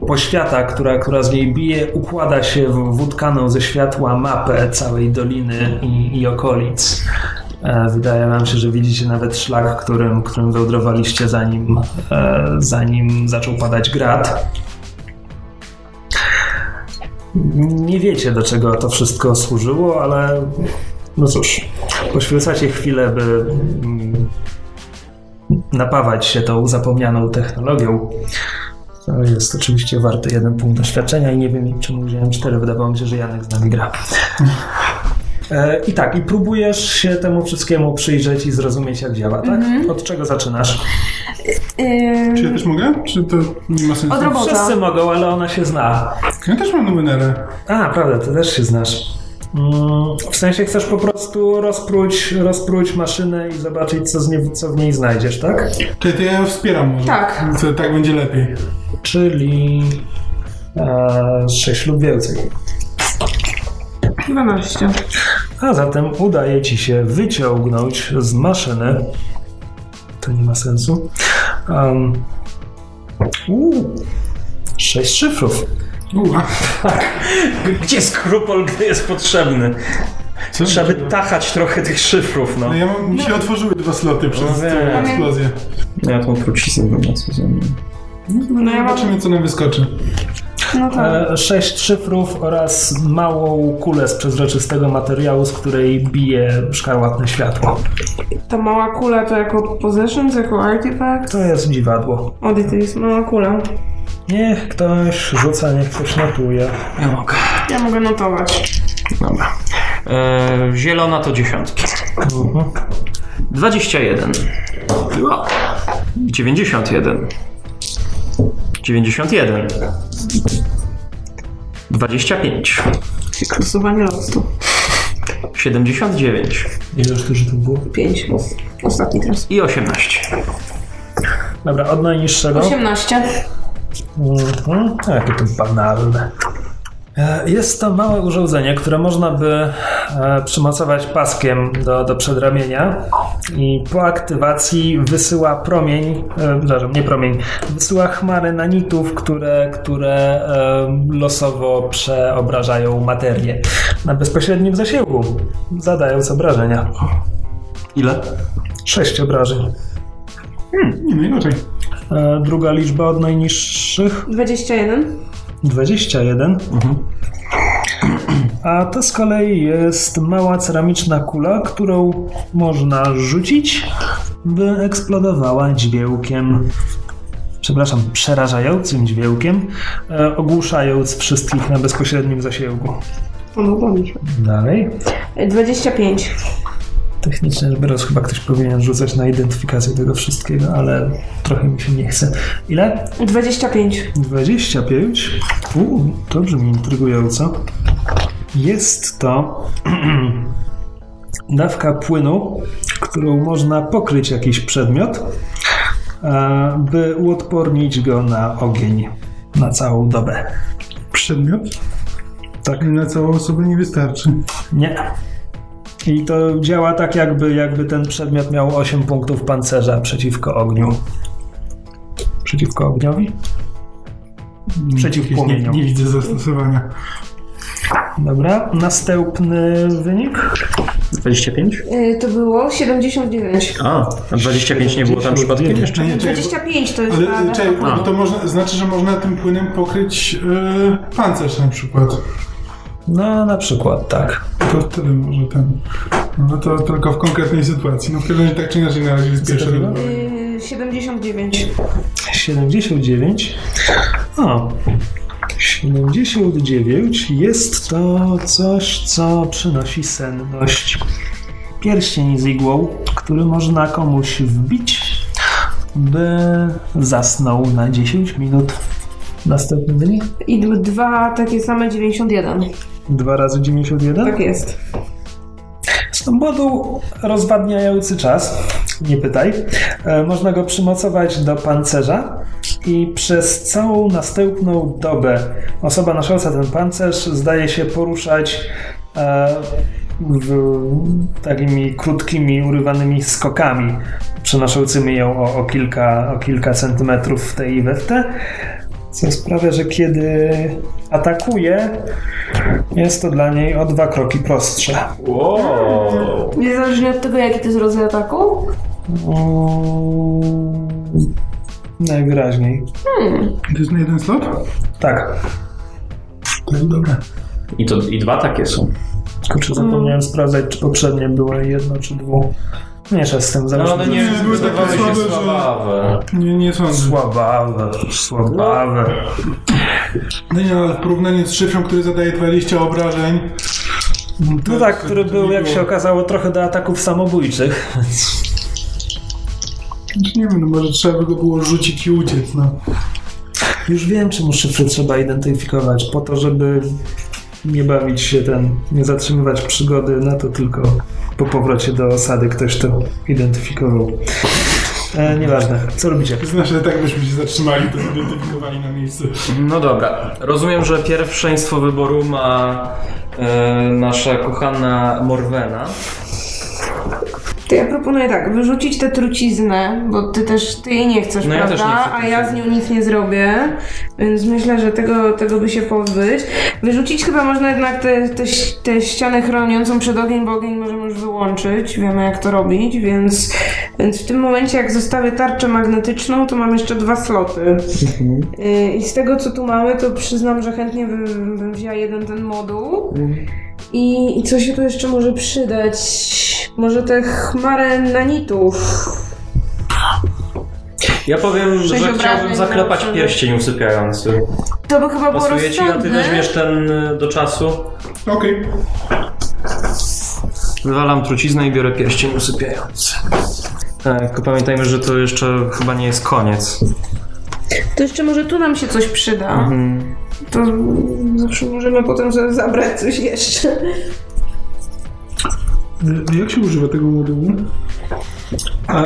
Speaker 1: poświata, która, która z niej bije, układa się w wódkaną ze światła mapę całej doliny i, i okolic. E, Wydaje wam się, że widzicie nawet szlak, którym, którym wełdrowaliście zanim, e, zanim zaczął padać grad. Nie wiecie, do czego to wszystko służyło, ale no cóż, poświęcacie chwilę, by mm, napawać się tą zapomnianą technologią. To jest oczywiście warte jeden punkt doświadczenia i nie wiem, czemu wziąłem cztery. Wydawało mi się, że Janek z nami gra. E, I tak, i próbujesz się temu wszystkiemu przyjrzeć i zrozumieć, jak działa, tak? Od czego zaczynasz?
Speaker 3: Czy
Speaker 4: Ym,
Speaker 3: ja też mogę? Czy to nie ma sensu?
Speaker 4: Od robota.
Speaker 1: Wszyscy mogą, ale ona się zna.
Speaker 3: Ja też mam numerę.
Speaker 1: A, prawda, ty też się znasz. Mm, W sensie chcesz po prostu rozpróć, rozpróć maszynę i zobaczyć, co, z nie, co w niej znajdziesz, tak?
Speaker 3: Czy to ja ją wspieram może?
Speaker 4: Tak.
Speaker 3: To tak będzie lepiej.
Speaker 1: Czyli e, 6 lub więcej.
Speaker 4: 12.
Speaker 1: A zatem udaje ci się wyciągnąć z maszyny. To nie ma sensu. Um, uu, sześć szyfrów.
Speaker 3: Uła.
Speaker 2: Gdzie skrupol, gdy jest potrzebny?
Speaker 3: Co?
Speaker 2: Trzeba by tachać trochę tych szyfrów, no.
Speaker 3: No ja mam, mi się otworzyły dwa sloty
Speaker 2: No
Speaker 3: przez
Speaker 2: wiem.
Speaker 3: tę eksplozję.
Speaker 2: Ja tą truciznę bym na sezonie.
Speaker 4: No ja mam...
Speaker 3: Zobaczymy, co nam wyskoczy.
Speaker 4: No tak.
Speaker 1: E, Sześć szyfrów oraz małą kulę z przezroczystego materiału, z której bije szkarłatne światło.
Speaker 4: Ta mała kula to jako possessions, jako artifact?
Speaker 1: To jest dziwadło.
Speaker 4: Ody, to jest mała kula.
Speaker 1: Niech ktoś rzuca, niech ktoś notuje.
Speaker 2: Ja mogę.
Speaker 4: Ja mogę notować.
Speaker 2: Dobra. E, zielona to dziesiątki.
Speaker 1: Mhm.
Speaker 2: 21. O, 91. 91. 25.
Speaker 4: Kursowanie losu.
Speaker 2: 79.
Speaker 1: Ile już dużo to było?
Speaker 4: Pięć. Ostatni teraz.
Speaker 2: I 18.
Speaker 1: Dobra, od najniższego.
Speaker 4: 18.
Speaker 1: Mhm, a jakie to banalne. E, Jest to małe urządzenie, które można by e, przymocować paskiem do, do przedramienia i po aktywacji wysyła promień, e, przepraszam, nie promień, wysyła chmary nanitów, które, które e, losowo przeobrażają materię na bezpośrednim zasięgu, zadając obrażenia.
Speaker 5: Ile?
Speaker 1: Sześć obrażeń.
Speaker 3: Nie, no inaczej.
Speaker 1: E, Druga liczba od najniższych
Speaker 4: 21.
Speaker 1: 21. A to z kolei jest mała ceramiczna kula, którą można rzucić, by eksplodowała dźwiękiem. Przepraszam, przerażającym dźwiękiem, e, ogłuszając wszystkich na bezpośrednim zasięgu.
Speaker 4: Pomogło mi się.
Speaker 1: Dalej.
Speaker 4: 25.
Speaker 1: Technicznie rzecz biorąc, chyba ktoś powinien rzucać na identyfikację tego wszystkiego, ale trochę mi się nie chce. Ile?
Speaker 4: 25.
Speaker 1: 25. U, to brzmi intrygująco. Jest to dawka płynu, którą można pokryć jakiś przedmiot, e, by uodpornić go na ogień na całą dobę.
Speaker 3: Przedmiot?
Speaker 1: Tak.
Speaker 3: Na całą osobę nie wystarczy.
Speaker 1: Nie. I to działa tak, jakby, jakby ten przedmiot miał 8 punktów pancerza przeciwko ogniu. Przeciwko ogniowi? Przeciw
Speaker 3: Jakieś nie,
Speaker 1: płomieniom.
Speaker 3: nie widzę zastosowania.
Speaker 1: Dobra, następny wynik.
Speaker 2: 25?
Speaker 4: Y, to było 79.
Speaker 2: A, a 25 nie było tam przypadkiem jeszcze?
Speaker 3: nie, czekaj, bo-
Speaker 4: 25 to jest
Speaker 3: ale
Speaker 4: na-
Speaker 3: czekaj,
Speaker 4: na-
Speaker 3: bo to można, znaczy, że można tym płynem pokryć yy, pancerz na przykład.
Speaker 1: No, na przykład tak.
Speaker 3: To wtedy może ten. No to tylko w konkretnej sytuacji. No w każdym razie tak czy inaczej na razie jest pierwszy
Speaker 1: Zgadza?
Speaker 3: rynek.
Speaker 4: Y, 79.
Speaker 1: 79. O. 79 jest to coś, co przynosi senność. Pierścień z igłą, który można komuś wbić, by zasnął na 10 minut. Następny wynik?
Speaker 4: I d- dwa takie same 91.
Speaker 1: 2 razy 91?
Speaker 4: Tak jest.
Speaker 1: Z powodu rozwadniający czas, nie pytaj, e, można go przymocować do pancerza i przez całą następną dobę osoba nosząca ten pancerz zdaje się poruszać e, w, takimi krótkimi, urywanymi skokami, przenoszącymi ją o, o, kilka, o kilka centymetrów w tej i we w te, co sprawia, że kiedy atakuje, jest to dla niej o dwa kroki prostsze.
Speaker 2: Wow.
Speaker 4: Niezależnie od tego, jaki to jest rodzaj ataku?
Speaker 1: Mm, Najwyraźniej.
Speaker 3: To jest na jeden slot?
Speaker 1: Tak. No
Speaker 3: To jest dobre.
Speaker 2: I, to, I dwa takie są.
Speaker 1: Kurczę, zapomniałem sprawdzać, czy poprzednie były jedno czy dwu. Mieszę z tym, zależy.
Speaker 2: one
Speaker 3: nie- były takie
Speaker 2: wydawały
Speaker 3: słabe, że- Nie, nie sądzę.
Speaker 1: Słabawe, słabawe.
Speaker 3: No nie, ale w porównaniu z szyfrą, który zadaje 20 obrażeń. to-
Speaker 1: No tak, który
Speaker 3: to
Speaker 1: był,
Speaker 3: nie
Speaker 1: jak
Speaker 3: było-
Speaker 1: się okazało, trochę do ataków samobójczych.
Speaker 3: Nie wiem, no może trzeba by go było rzucić i uciec, no.
Speaker 1: Już wiem, czemu szyfry trzeba identyfikować, po to, żeby nie bawić się ten, nie zatrzymywać przygody na to tylko po powrocie do osady ktoś to identyfikował. E, nieważne, co robicie?
Speaker 3: Znaczy, że tak byśmy się zatrzymali, to zidentyfikowali na miejscu.
Speaker 2: No dobra, rozumiem, że pierwszeństwo wyboru ma e, nasza kochana Morwena.
Speaker 4: To ja proponuję tak, wyrzucić tę truciznę, bo ty też, ty jej nie chcesz,
Speaker 2: No ja
Speaker 4: prawda?
Speaker 2: też nie chcę
Speaker 4: A ja z nią nic nie zrobię, więc myślę, że tego, tego by się pozbyć. Wyrzucić chyba można jednak te, te, ś- te ścianę chroniącą przed ogień, bo ogień możemy już wyłączyć, wiemy jak to robić, więc, więc w tym momencie jak zostawię tarczę magnetyczną, to mam jeszcze dwa sloty. Y, I z tego co tu mamy, to przyznam, że chętnie bym, bym wzięła jeden ten moduł. I, I co się tu jeszcze może przydać? Może te chmary nanitów.
Speaker 2: Ja powiem,
Speaker 4: Sześć
Speaker 2: że
Speaker 4: obrażeń
Speaker 2: chciałbym zaklepać
Speaker 4: zobaczymy.
Speaker 2: pierścień usypiający.
Speaker 4: To by chyba było
Speaker 2: Pasuje ci, a ty
Speaker 4: rozsądne.
Speaker 2: weźmiesz ten y, do czasu.
Speaker 3: Okej.
Speaker 5: Wywalam truciznę i biorę pierścień usypiający. Tak, tylko pamiętajmy, że to jeszcze chyba nie jest koniec.
Speaker 4: To jeszcze może tu nam się coś przyda.
Speaker 5: Mhm.
Speaker 4: To zawsze możemy potem sobie zabrać coś jeszcze.
Speaker 3: Y, Jak się używa tego modułu?
Speaker 1: E,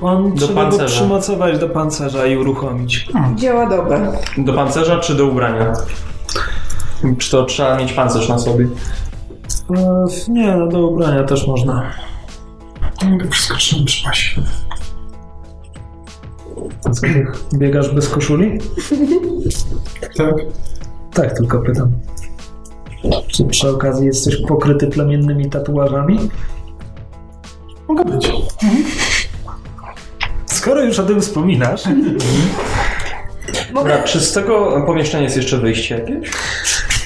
Speaker 1: on
Speaker 2: Do
Speaker 1: trzeba go
Speaker 2: pancerza.
Speaker 1: przymocować do pancerza i uruchomić.
Speaker 4: Działa dobra.
Speaker 2: Do pancerza czy do ubrania? Czy to trzeba mieć pancerz na sobie?
Speaker 1: E, nie, no do ubrania też można.
Speaker 3: Wszystko trzeba przypaść.
Speaker 1: Co ty biegasz bez koszuli?
Speaker 3: Tak.
Speaker 1: Tak, tylko pytam. Czy przy okazji jesteś pokryty plemiennymi tatuażami?
Speaker 3: Mogę być.
Speaker 1: Skoro już o tym wspominasz,
Speaker 4: Mogę...
Speaker 2: Dobra, czy z tego pomieszczenia jest jeszcze wyjście jakieś?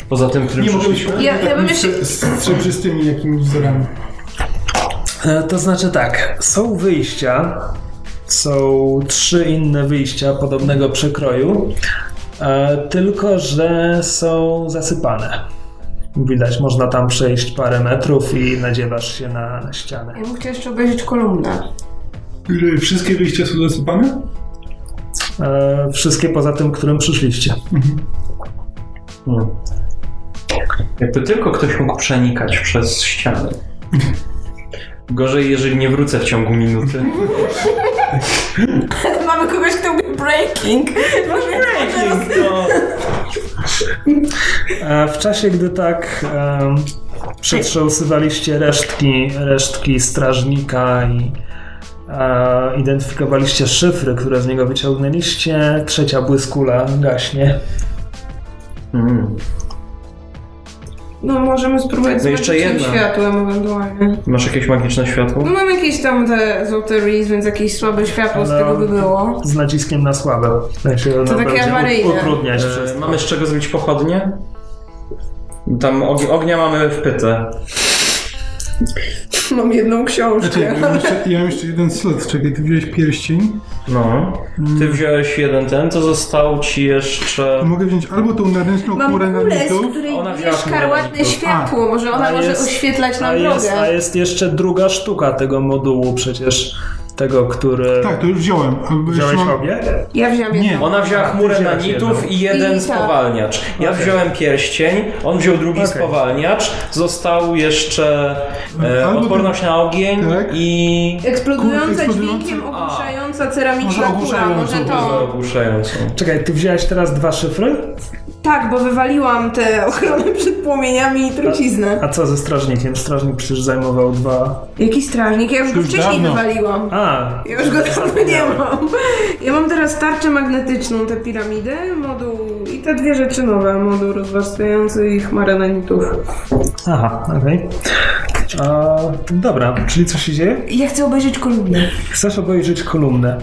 Speaker 2: Poza tym, którym
Speaker 3: Nie mogę być
Speaker 2: przyszliśmy?
Speaker 3: pewny,
Speaker 4: Ja- ja
Speaker 3: tak,
Speaker 4: bym
Speaker 3: z-
Speaker 4: jeszcze-
Speaker 3: Z przejrzystymi jakimiś wzorami.
Speaker 1: E, To znaczy tak, są wyjścia, są trzy inne wyjścia podobnego przekroju, e, tylko że są zasypane. Widać, można tam przejść parę metrów i nadziewasz się na, na ścianę.
Speaker 4: Ja bym chciała jeszcze obejrzeć kolumnę.
Speaker 3: Że Wszystkie wyjścia są zasypane?
Speaker 1: E, Wszystkie poza tym, którym przyszliście.
Speaker 2: Hmm. Jakby tylko ktoś mógł przenikać przez ścianę. Gorzej, jeżeli nie wrócę w ciągu minuty.
Speaker 4: Mamy kogoś, kto mówi breaking. breaking.
Speaker 1: E, W czasie, gdy tak e, przetrząsywaliście resztki, resztki strażnika i e, identyfikowaliście szyfry, które z niego wyciągnęliście, trzecia błyskula gaśnie.
Speaker 2: Mm.
Speaker 4: No możemy spróbować
Speaker 2: No
Speaker 4: zobaczyć
Speaker 2: jeszcze
Speaker 4: tym
Speaker 2: jedna.
Speaker 4: światłem ewentualnie.
Speaker 2: Masz jakieś magiczne światło?
Speaker 4: No mam jakieś tam te złote reeds, więc jakieś słabe światło z
Speaker 2: No.
Speaker 1: Ale-
Speaker 4: tego by było.
Speaker 1: Z naciskiem na Tak słabe. W sensie ona
Speaker 4: takie
Speaker 1: będzie
Speaker 4: awaryjne.
Speaker 1: utrudniać
Speaker 2: E,
Speaker 1: wszystko.
Speaker 2: mamy z czego zrobić pochodnie? Tam og- ognia mamy wpyte.
Speaker 4: Mam jedną książkę.
Speaker 3: Znaczy, ja mam jeszcze, ja mam jeszcze jeden slot. Czekaj, ty wziąłeś pierścień.
Speaker 2: No. Ty wziąłeś jeden ten, to został ci jeszcze...
Speaker 3: Mogę wziąć albo tą naręczną
Speaker 4: Mam
Speaker 3: chmurę
Speaker 4: kulę, z
Speaker 3: nanitów.
Speaker 4: której
Speaker 2: Ona
Speaker 4: bije
Speaker 2: wzięła chmurę
Speaker 4: szkarłatne
Speaker 2: nanitów.
Speaker 4: światło. Może ona
Speaker 1: A
Speaker 4: może
Speaker 1: jest-
Speaker 4: oświetlać
Speaker 1: A
Speaker 4: nam
Speaker 1: jest, a
Speaker 4: drogę.
Speaker 1: jest jeszcze druga sztuka tego modułu przecież, tego, który...
Speaker 3: Tak, to już wziąłem. Albo jeszcze
Speaker 1: Wziąłeś
Speaker 3: mam-
Speaker 1: obie?
Speaker 4: Ja wziąłem jedną.
Speaker 3: Nie,
Speaker 2: Ona wzięła chmurę
Speaker 1: wziąłeś
Speaker 2: nanitów
Speaker 1: jeden.
Speaker 2: i jeden
Speaker 4: I tak.
Speaker 2: spowalniacz. Ja wziąłem pierścień, on wziął drugi
Speaker 1: Okej.
Speaker 2: spowalniacz, został jeszcze
Speaker 5: No,
Speaker 2: e,
Speaker 3: Albo-
Speaker 2: odporność na ogień
Speaker 3: Tak.
Speaker 2: i...
Speaker 3: Kurde,
Speaker 4: Eksplodująca
Speaker 3: eksplodująca-
Speaker 4: dźwiękiem
Speaker 2: A.
Speaker 4: ogłuszająca ceramiczna
Speaker 3: Może
Speaker 4: kula, może
Speaker 3: ogłuszająca,
Speaker 4: to.
Speaker 2: Ogłuszającą.
Speaker 1: Czekaj, ty wziąłeś teraz dwa szyfry?
Speaker 4: Tak, bo wywaliłam te ochronę przed płomieniami i truciznę.
Speaker 1: A co ze strażnikiem? Strażnik przecież zajmował dwa...
Speaker 4: Jaki strażnik? Ja już go
Speaker 3: Już
Speaker 4: wcześniej
Speaker 3: dawno.
Speaker 4: wywaliłam.
Speaker 1: A,
Speaker 4: Ja już go dawno nie mam. Ja mam teraz tarczę magnetyczną, tę piramidę, moduł i te dwie rzeczy nowe. Moduł rozwarstwiający i chmarę nanitów.
Speaker 1: Aha, okej. A, Dobra, czyli co się dzieje?
Speaker 4: Ja chcę obejrzeć kolumnę.
Speaker 1: Chcesz obejrzeć kolumnę.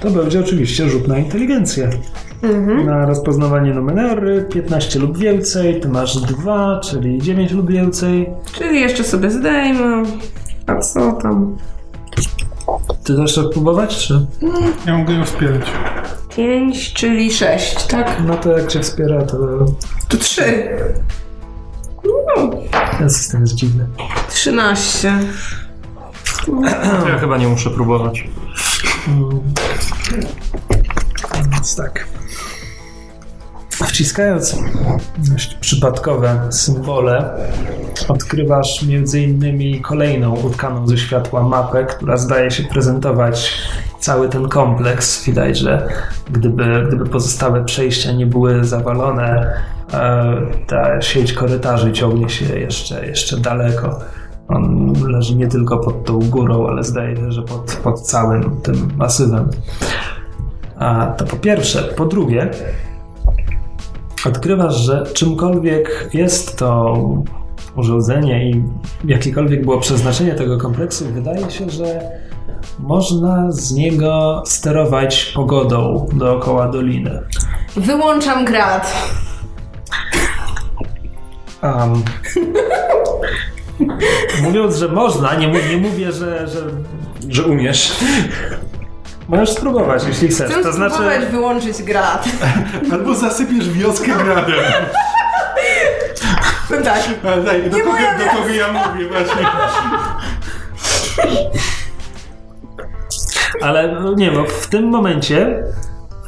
Speaker 1: To będzie oczywiście rzut na inteligencję.
Speaker 4: Mhm.
Speaker 1: Na rozpoznawanie numery 15 lub więcej, ty masz 2, czyli 9 lub więcej.
Speaker 4: Czyli jeszcze sobie zdejmę. A co tam?
Speaker 1: Ty też chcesz próbować, czy?
Speaker 3: ja mogę ją wspierać.
Speaker 4: Pięć, czyli sześć, tak?
Speaker 1: No to jak cię wspiera, to
Speaker 4: To trzy.
Speaker 1: ten system jest dziwny.
Speaker 4: Trzynaście.
Speaker 5: To ja chyba nie muszę próbować.
Speaker 1: Więc tak. Wciskając dość przypadkowe symbole, odkrywasz między innymi kolejną utkaną ze światła mapę, która zdaje się prezentować cały ten kompleks. Widać, że gdyby, gdyby pozostałe przejścia nie były zawalone, e, ta sieć korytarzy ciągnie się jeszcze, jeszcze daleko. On leży nie tylko pod tą górą, ale zdaje się, że pod, pod całym tym masywem. A to po pierwsze. Po drugie, odkrywasz, że czymkolwiek jest to urządzenie i jakiekolwiek było przeznaczenie tego kompleksu, wydaje się, że można z niego sterować pogodą dookoła doliny.
Speaker 4: Wyłączam grad.
Speaker 1: Um, mówiąc, że można, nie, mu- nie mówię, że, że
Speaker 2: Że umiesz.
Speaker 1: możesz spróbować, jeśli chcesz.
Speaker 4: Chcę
Speaker 1: To znaczy,
Speaker 4: spróbować wyłączyć grad.
Speaker 3: Albo zasypiesz wioskę gradem.
Speaker 4: No tak.
Speaker 3: Ale daj, do, kogo,
Speaker 4: moja
Speaker 3: do kogo ja mówię właśnie.
Speaker 1: ale no, nie, bo w tym momencie,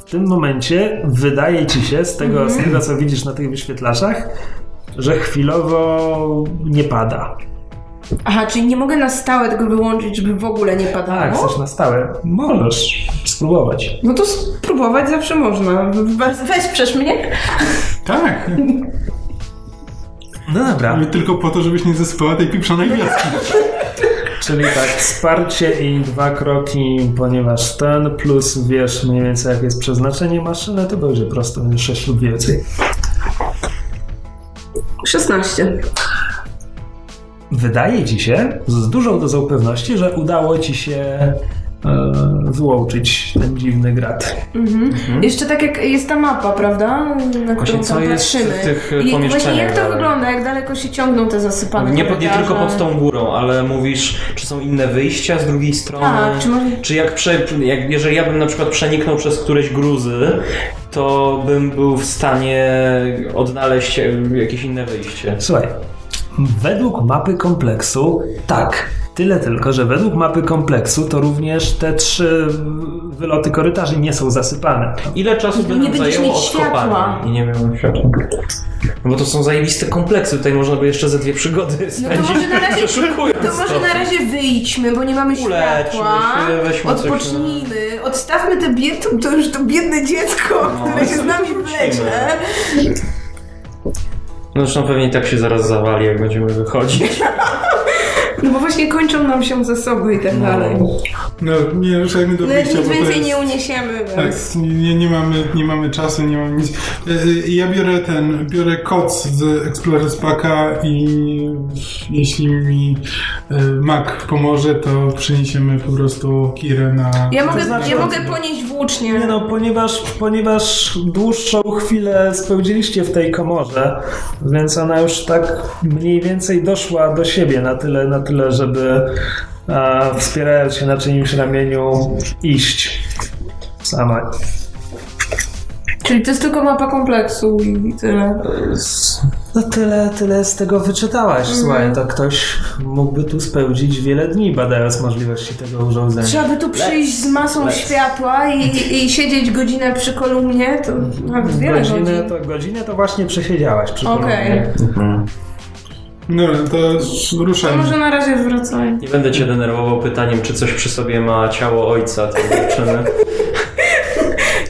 Speaker 1: w tym momencie wydaje ci się z tego, z tego co widzisz na tych wyświetlaczach, że chwilowo nie pada.
Speaker 4: Aha, czyli nie mogę na stałe tego wyłączyć, żeby w ogóle nie
Speaker 1: Tak,
Speaker 4: padało?
Speaker 1: chcesz na stałe. Możesz spróbować.
Speaker 4: No to spróbować zawsze można. We- Wesprzesz mnie?
Speaker 3: Tak,
Speaker 1: No dobra.
Speaker 3: ale tylko po to, żebyś nie zesypała tej pieprzonej wioski.
Speaker 1: Czyli tak, wsparcie i dwa kroki, ponieważ ten plus wiesz mniej więcej jakie jest przeznaczenie maszyny, to będzie prosto, będzie 6 lub więcej.
Speaker 4: 16.
Speaker 1: Wydaje ci się, z dużą dozą pewności, że udało ci się e, wyłączyć ten dziwny grat.
Speaker 4: Mhm. Jeszcze tak jak jest ta mapa, prawda? Na którą
Speaker 2: co
Speaker 4: tam
Speaker 2: jest w
Speaker 4: patrzymy.
Speaker 2: tych, e,
Speaker 4: I Właśnie
Speaker 2: pomieszczeniach
Speaker 4: jak to
Speaker 2: dalej?
Speaker 4: wygląda? Jak daleko się ciągną te zasypane
Speaker 2: Nie, pod, nie
Speaker 4: korytarze?
Speaker 2: tylko pod tą górą, ale mówisz, czy są inne wyjścia z drugiej strony?
Speaker 4: Tak, czy może...
Speaker 2: Czy jak, prze, jak jeżeli ja bym na przykład przeniknął przez któreś gruzy, to bym był w stanie odnaleźć e, jakieś inne wyjście.
Speaker 1: Słuchaj, według mapy kompleksu tak. Tyle tylko, że według mapy kompleksu to również te trzy wyloty korytarzy nie są zasypane.
Speaker 2: Ile czasu by
Speaker 4: Nie
Speaker 2: nam
Speaker 4: będziesz
Speaker 2: zajęło
Speaker 4: mieć światła.
Speaker 2: odkopanie? I nie miałem światła. No bo to są zajebiste kompleksy, tutaj można by jeszcze ze dwie przygody
Speaker 4: No to
Speaker 2: spędzić.
Speaker 4: może na razie...
Speaker 2: Przeszukując
Speaker 4: To może na razie wyjdźmy, bo nie mamy
Speaker 2: Uleczmy
Speaker 4: światła.
Speaker 2: się, weźmy coś
Speaker 4: Odpocznijmy. Odstawmy te bied... to już to biedne dziecko,
Speaker 2: No,
Speaker 4: które się z nami wlecze.
Speaker 2: No zresztą pewnie i tak się zaraz zawali, jak będziemy wychodzić.
Speaker 4: No bo właśnie kończą nam się zasoby i tak dalej.
Speaker 3: No, nie ruszajmy do
Speaker 4: No nic
Speaker 3: wyjścia, bo to
Speaker 4: więcej
Speaker 3: jest...
Speaker 4: nie uniesiemy,
Speaker 3: Tak,
Speaker 4: więc...
Speaker 3: nie, nie, mamy, nie mamy czasu, nie mamy nic. E, e, Ja biorę ten, biorę koc z Explorers Packa i jeśli mi e, Mac pomoże, to przyniesiemy po prostu Kirę na...
Speaker 4: Ja mogę,
Speaker 1: znaczy-
Speaker 4: ja mogę ponieść włócznie.
Speaker 1: Nie no, ponieważ, ponieważ dłuższą chwilę spełdziliście w tej komorze, więc ona już tak mniej więcej doszła do siebie na tyle, na tyle żeby e, wspierając się na czyimś ramieniu iść sama.
Speaker 4: Czyli to jest tylko mapa kompleksu i tyle.
Speaker 1: No tyle, tyle z tego wyczytałaś.
Speaker 4: Mhm.
Speaker 1: Słuchaj, to ktoś mógłby tu spełdzić wiele dni badając możliwości tego urządzenia.
Speaker 4: Trzeba by tu przyjść z masą światła i, i siedzieć godzinę przy kolumnie, to nawet wiele
Speaker 1: godzinę,
Speaker 4: godzin.
Speaker 1: to, godzinę to właśnie przesiedziałaś przy
Speaker 4: Okej.
Speaker 1: kolumnie.
Speaker 2: Mhm.
Speaker 3: No, to
Speaker 4: To
Speaker 3: ruszajmy.
Speaker 4: może na razie wracaj.
Speaker 2: Nie będę cię denerwował pytaniem, czy coś przy sobie ma ciało ojca tej dziewczyny.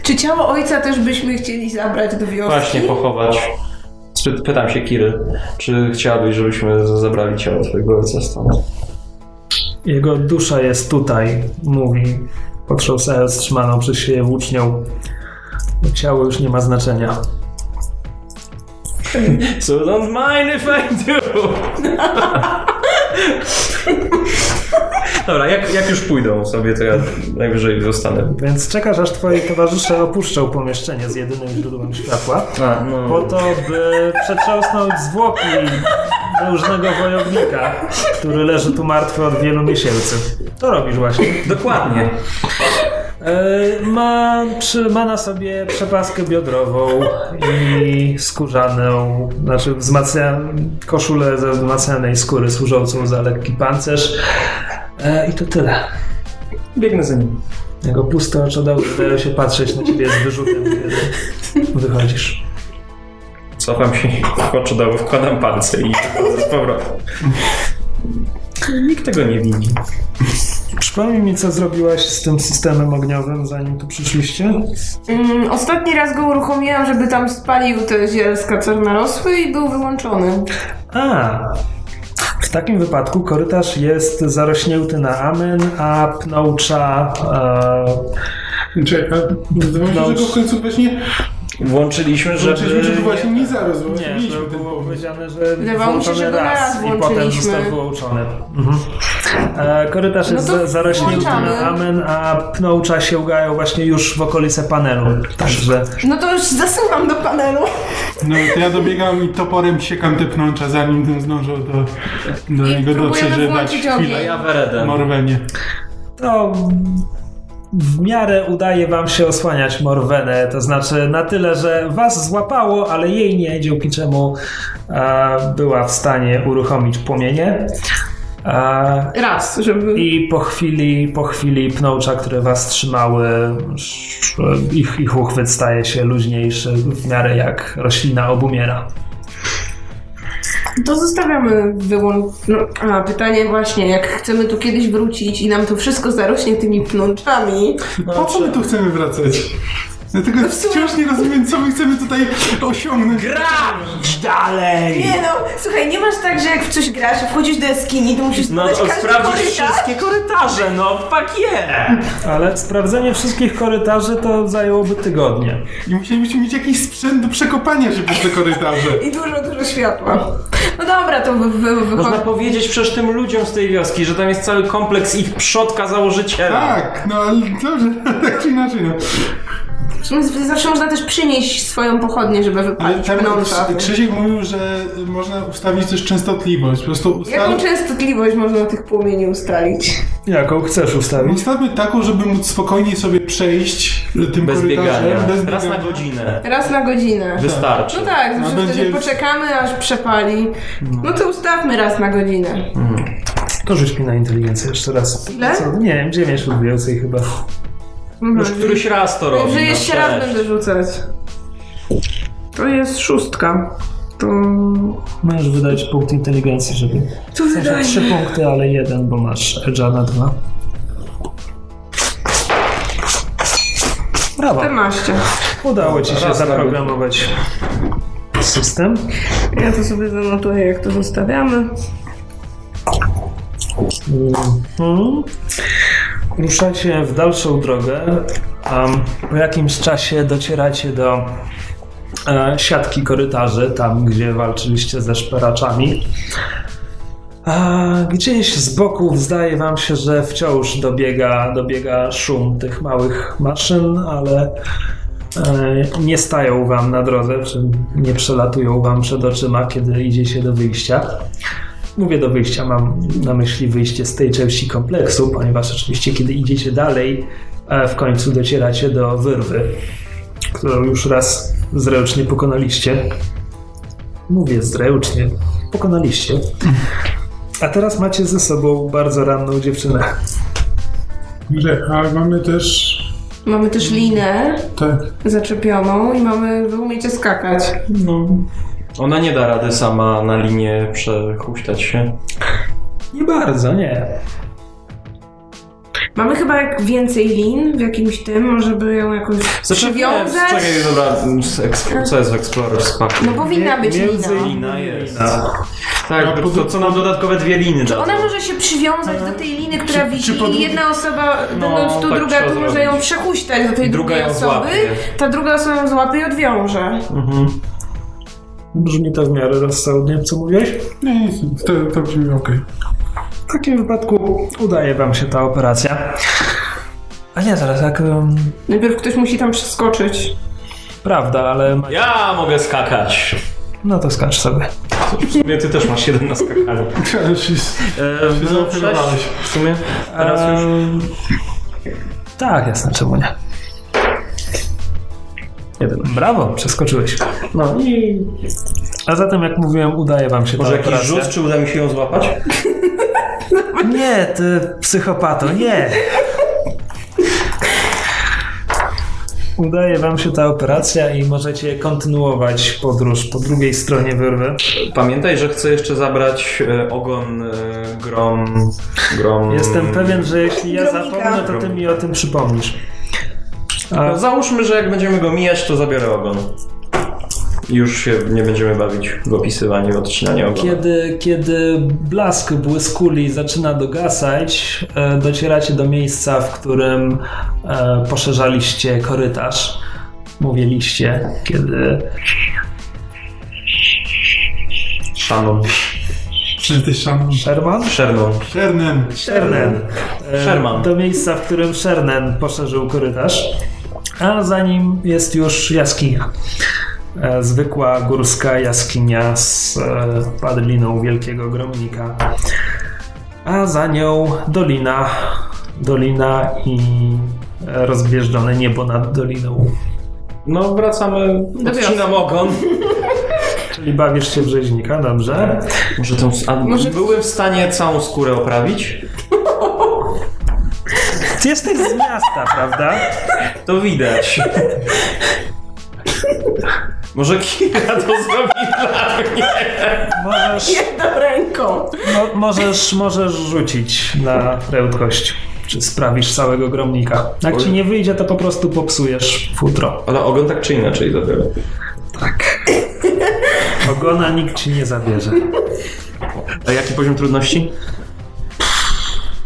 Speaker 4: Czy ciało ojca też byśmy chcieli zabrać do wioski?
Speaker 2: Właśnie, pochować. Czy- Pytam się Kiry, czy chciałabyś, żebyśmy z- zabrali ciało twojego ojca stąd?
Speaker 1: Jego dusza jest tutaj, mówi, potrząsając trzymaną przez siebie włócznią. Ciało już nie ma znaczenia.
Speaker 2: So don't mind if I do! Dobra, jak, jak już pójdą sobie, to ja najwyżej zostanę.
Speaker 1: Więc czekasz, aż twoi towarzysze opuszczą pomieszczenie z jedynym źródłem światła,
Speaker 2: A,
Speaker 1: po
Speaker 2: no.
Speaker 1: to, by przetrząsnąć zwłoki różnego wojownika, który leży tu martwy od wielu miesięcy. To robisz właśnie.
Speaker 2: Dokładnie.
Speaker 1: E, Ma, przy, ma na sobie przepaskę biodrową i skórzaną, znaczy wzmacnia, koszulę ze wzmacnianej skóry służącą za lekki pancerz. E, I to tyle.
Speaker 2: Biegnę za nim.
Speaker 1: Jego puste oczy dały wydają się patrzeć na ciebie z wyrzutem, kiedy wychodzisz.
Speaker 2: Cofam się w oczy dołu, wkładam palce i wchodzę z powrotem. Nikt tego nie widzi.
Speaker 1: Przypomnij mi, co zrobiłaś z tym systemem ogniowym, zanim tu przyszliście?
Speaker 4: Mm, ostatni raz go uruchomiłam, żeby tam spalił te zielska, co narosły i był wyłączony.
Speaker 1: A, takim wypadku korytarz jest zarośnięty na amen, a pnącza e,
Speaker 3: Czekaj, a wydawało mi się, że go w końcu właśnie
Speaker 2: Włączyliśmy, żeby...
Speaker 3: zaczęliśmy, żeby właśnie nie zaraz,
Speaker 1: e,
Speaker 3: bo właśnie
Speaker 1: nie,
Speaker 3: mieliśmy
Speaker 1: że
Speaker 3: ten
Speaker 1: było
Speaker 3: pomysł.
Speaker 1: powiedziane, że
Speaker 4: Wydawało mi się, że
Speaker 1: włączony
Speaker 4: go na raz
Speaker 1: i potem
Speaker 4: włączyliśmy.
Speaker 1: został wyłączony. Mhm. E, korytarz
Speaker 4: No
Speaker 1: jest
Speaker 4: to
Speaker 1: za- zarośnięty
Speaker 4: włączamy.
Speaker 1: na amen, a pnącza sięgają właśnie już w okolice panelu. Także
Speaker 4: No to już zasuwam do panelu.
Speaker 3: No to ja dobiegam i toporem siekam te pnącza, zanim ten zdążył do, do
Speaker 4: I
Speaker 3: niego dotrzeć,
Speaker 4: próbujemy
Speaker 3: żeby dać
Speaker 4: włączyć ogień.
Speaker 2: A
Speaker 3: chwilę
Speaker 2: ja Weredem.
Speaker 3: Morwenie.
Speaker 1: to No, w miarę udaje wam się osłaniać Morwenę, to znaczy na tyle, że was złapało, ale jej nie, dzięki czemu e, była w stanie uruchomić płomienie. E,
Speaker 4: Raz, żeby...
Speaker 1: i po chwili, po chwili pnącza, które was trzymały, sz- ich, ich uchwyt staje się luźniejszy w miarę jak roślina obumiera.
Speaker 4: To zostawiamy wyłącz... No, a, pytanie właśnie, jak chcemy tu kiedyś wrócić i nam to wszystko zarośnie tymi pnączami,
Speaker 3: Po co my tu chcemy wracać? Dlatego
Speaker 4: No
Speaker 3: wciąż nie rozumiem, co my chcemy tutaj osiągnąć.
Speaker 2: Dalej!
Speaker 8: Nie no, słuchaj, nie masz tak, że jak w coś grasz, wchodzisz do jaskini, to musisz
Speaker 2: No
Speaker 8: sprawdzić
Speaker 2: to
Speaker 8: każdy
Speaker 2: sprawdzisz
Speaker 8: korytarz.
Speaker 2: wszystkie korytarze, no fuck yeah!
Speaker 1: Ale sprawdzenie wszystkich korytarzy to zajęłoby tygodnie.
Speaker 3: I musielibyśmy mieć jakiś sprzęt do przekopania się przez te korytarze.
Speaker 4: I dużo, dużo światła. No dobra, to wy, wy, wy,
Speaker 5: Można powiedzieć przecież tym ludziom z tej wioski, że tam jest cały kompleks ich przodka założyciela.
Speaker 3: Tak, no ale dobrze, tak czy inaczej. No.
Speaker 4: w sumie z- Zawsze można też przynieść swoją pochodnię, żeby
Speaker 3: Ale
Speaker 4: wypalić
Speaker 3: tam
Speaker 4: pnącza.
Speaker 3: Krzy- Krzysiek mówił, że można ustawić też częstotliwość. Po prostu
Speaker 4: Jaką
Speaker 3: ustal...
Speaker 4: częstotliwość można tych płomieni ustalić?
Speaker 1: Jaką chcesz ustawić?
Speaker 3: ustawmy taką, żeby móc spokojnie sobie przejść tym
Speaker 2: Bez biegania.
Speaker 3: korytarzem. Bez
Speaker 2: Raz na
Speaker 3: biegania.
Speaker 2: godzinę.
Speaker 4: Raz na godzinę.
Speaker 2: Wystarczy.
Speaker 4: No tak, zawsze
Speaker 3: będzie-
Speaker 4: wtedy poczekamy, aż przepali. No to ustawmy raz na godzinę.
Speaker 1: To rzuć mi na inteligencję jeszcze raz.
Speaker 4: Ile?
Speaker 1: Co? Nie wiem, 9 lub więcej chyba.
Speaker 2: Już któryś raz to robi.
Speaker 4: Mhm. Że
Speaker 2: no
Speaker 4: jeszcze raz
Speaker 2: cześć.
Speaker 4: będę rzucać. To jest szóstka. To...
Speaker 1: Możesz wydać punkt inteligencji, żeby...
Speaker 4: To
Speaker 1: W sensie
Speaker 4: wydaje
Speaker 1: 3 punkty, ale jeden, bo masz edge'a na 2. Brawo.
Speaker 4: 14.
Speaker 1: Udało ci się zaprogramować system.
Speaker 4: Ja to sobie zanotuję, jak to zostawiamy.
Speaker 1: Mhm. Ruszacie w dalszą drogę. Am, po jakimś czasie docieracie do e, siatki korytarzy, tam gdzie walczyliście ze szperaczami. A gdzieś z boku zdaje wam się, że wciąż dobiega, dobiega szum tych małych maszyn, ale e, nie stają wam na drodze, czy nie przelatują wam przed oczyma, kiedy idziecie do wyjścia. Mówię do wyjścia, mam na myśli wyjście z tej części kompleksu, ponieważ oczywiście kiedy idziecie dalej, e, w końcu docieracie do wyrwy, którą już raz zręcznie pokonaliście. Mówię zręcznie, pokonaliście. A teraz macie ze sobą bardzo ranną dziewczynę.
Speaker 3: Dobrze, A mamy też...
Speaker 4: Mamy też linę
Speaker 3: Tak.
Speaker 4: zaczepioną i mamy wy umiecie skakać.
Speaker 2: Ona nie da rady sama na linię przechuśtać się.
Speaker 1: Nie bardzo, nie.
Speaker 4: Mamy chyba jak więcej lin w jakimś tym, może by ją jakoś
Speaker 2: Znaczy,
Speaker 4: przywiązać.
Speaker 2: nie, Czekaj, dobra, z Exp- co jest w Explorer Spaku?
Speaker 4: No powinna być lina.
Speaker 2: Lina jest. Tak, to co nam dodatkowe dwie liny da.
Speaker 4: Ona może się przywiązać do tej liny, która wisi
Speaker 3: czy pod-
Speaker 4: i jedna osoba będąc tu,
Speaker 2: tak
Speaker 4: druga
Speaker 2: trzeba
Speaker 4: tu może
Speaker 2: zrobić.
Speaker 4: ją przechuśtać do tej
Speaker 2: Druga
Speaker 4: drugiej
Speaker 2: ją
Speaker 4: osoby.
Speaker 2: złapie. Mhm.
Speaker 4: Ta druga osoba ją złapie i odwiąże.
Speaker 1: Brzmi to w miarę rozsądnie, co mówiłeś?
Speaker 3: Nie, nie, nie, to, to brzmi okej.
Speaker 1: W takim wypadku udaje wam się ta operacja. A nie, zaraz, jak... em,
Speaker 4: Najpierw ktoś musi tam przeskoczyć.
Speaker 1: Prawda, ale...
Speaker 2: Ja mogę skakać.
Speaker 1: No to skacz sobie.
Speaker 2: W sumie ty też masz jeden na skakaniu.
Speaker 3: Okay. Ale się-
Speaker 2: E, no,
Speaker 3: zaoferowałeś.
Speaker 2: sześć w sumie. Teraz już.
Speaker 1: Ehm, Tak, jasne, czemu nie? Jeden. Brawo, przeskoczyłeś. No i... A zatem, jak mówiłem, udaje wam się
Speaker 2: Może
Speaker 1: ta
Speaker 2: jakiś
Speaker 1: operacja.
Speaker 2: rzut, czy uda mi się ją złapać?
Speaker 1: Nie, ty psychopato, nie! Udaje wam się ta operacja i możecie kontynuować podróż po drugiej stronie wyrwy.
Speaker 2: Pamiętaj, że chcę jeszcze zabrać e, ogon, e, grom, grom...
Speaker 1: Jestem pewien, że jeśli ja
Speaker 8: Gromika.
Speaker 1: zapomnę, to ty mi o tym przypomnisz. A
Speaker 2: No, załóżmy, że jak będziemy go mijać, to zabiorę ogon. Już się nie będziemy bawić w opisywanie, w odcinanie ogona.
Speaker 1: Kiedy, kiedy blask błyskuli zaczyna dogasać, e, docieracie do miejsca, w którym e, poszerzaliście korytarz. Mówiliście, kiedy
Speaker 2: Szanon.
Speaker 3: Czy ty szanuj.
Speaker 1: Sherman?
Speaker 2: Szernon.
Speaker 3: Czernem.
Speaker 1: Shernen. E,
Speaker 2: Sherman.
Speaker 1: Do miejsca, w którym Shernen poszerzył korytarz. A za nim jest już jaskinia. E, Zwykła górska jaskinia z e, padliną wielkiego gromnika. A za nią dolina. Dolina i e, rozbieżone niebo nad doliną.
Speaker 2: No, wracamy. Odcinam ogon.
Speaker 1: Czyli bawisz się w rzeźnika, dobrze?
Speaker 2: Może tą. A Byłem w stanie całą skórę oprawić?
Speaker 1: Ty jesteś z miasta, prawda?
Speaker 2: To widać. Może Kira to zrobi dla mnie.
Speaker 1: Możesz,
Speaker 8: Jedną ręką.
Speaker 1: mo- możesz, możesz rzucić na prędkość. Czy sprawisz całego gromnika? Jak ci nie wyjdzie, to po prostu popsujesz futro.
Speaker 2: Ale ogon tak czy inaczej zabiorę.
Speaker 1: Ogona nikt ci nie zabierze.
Speaker 5: A jaki poziom trudności?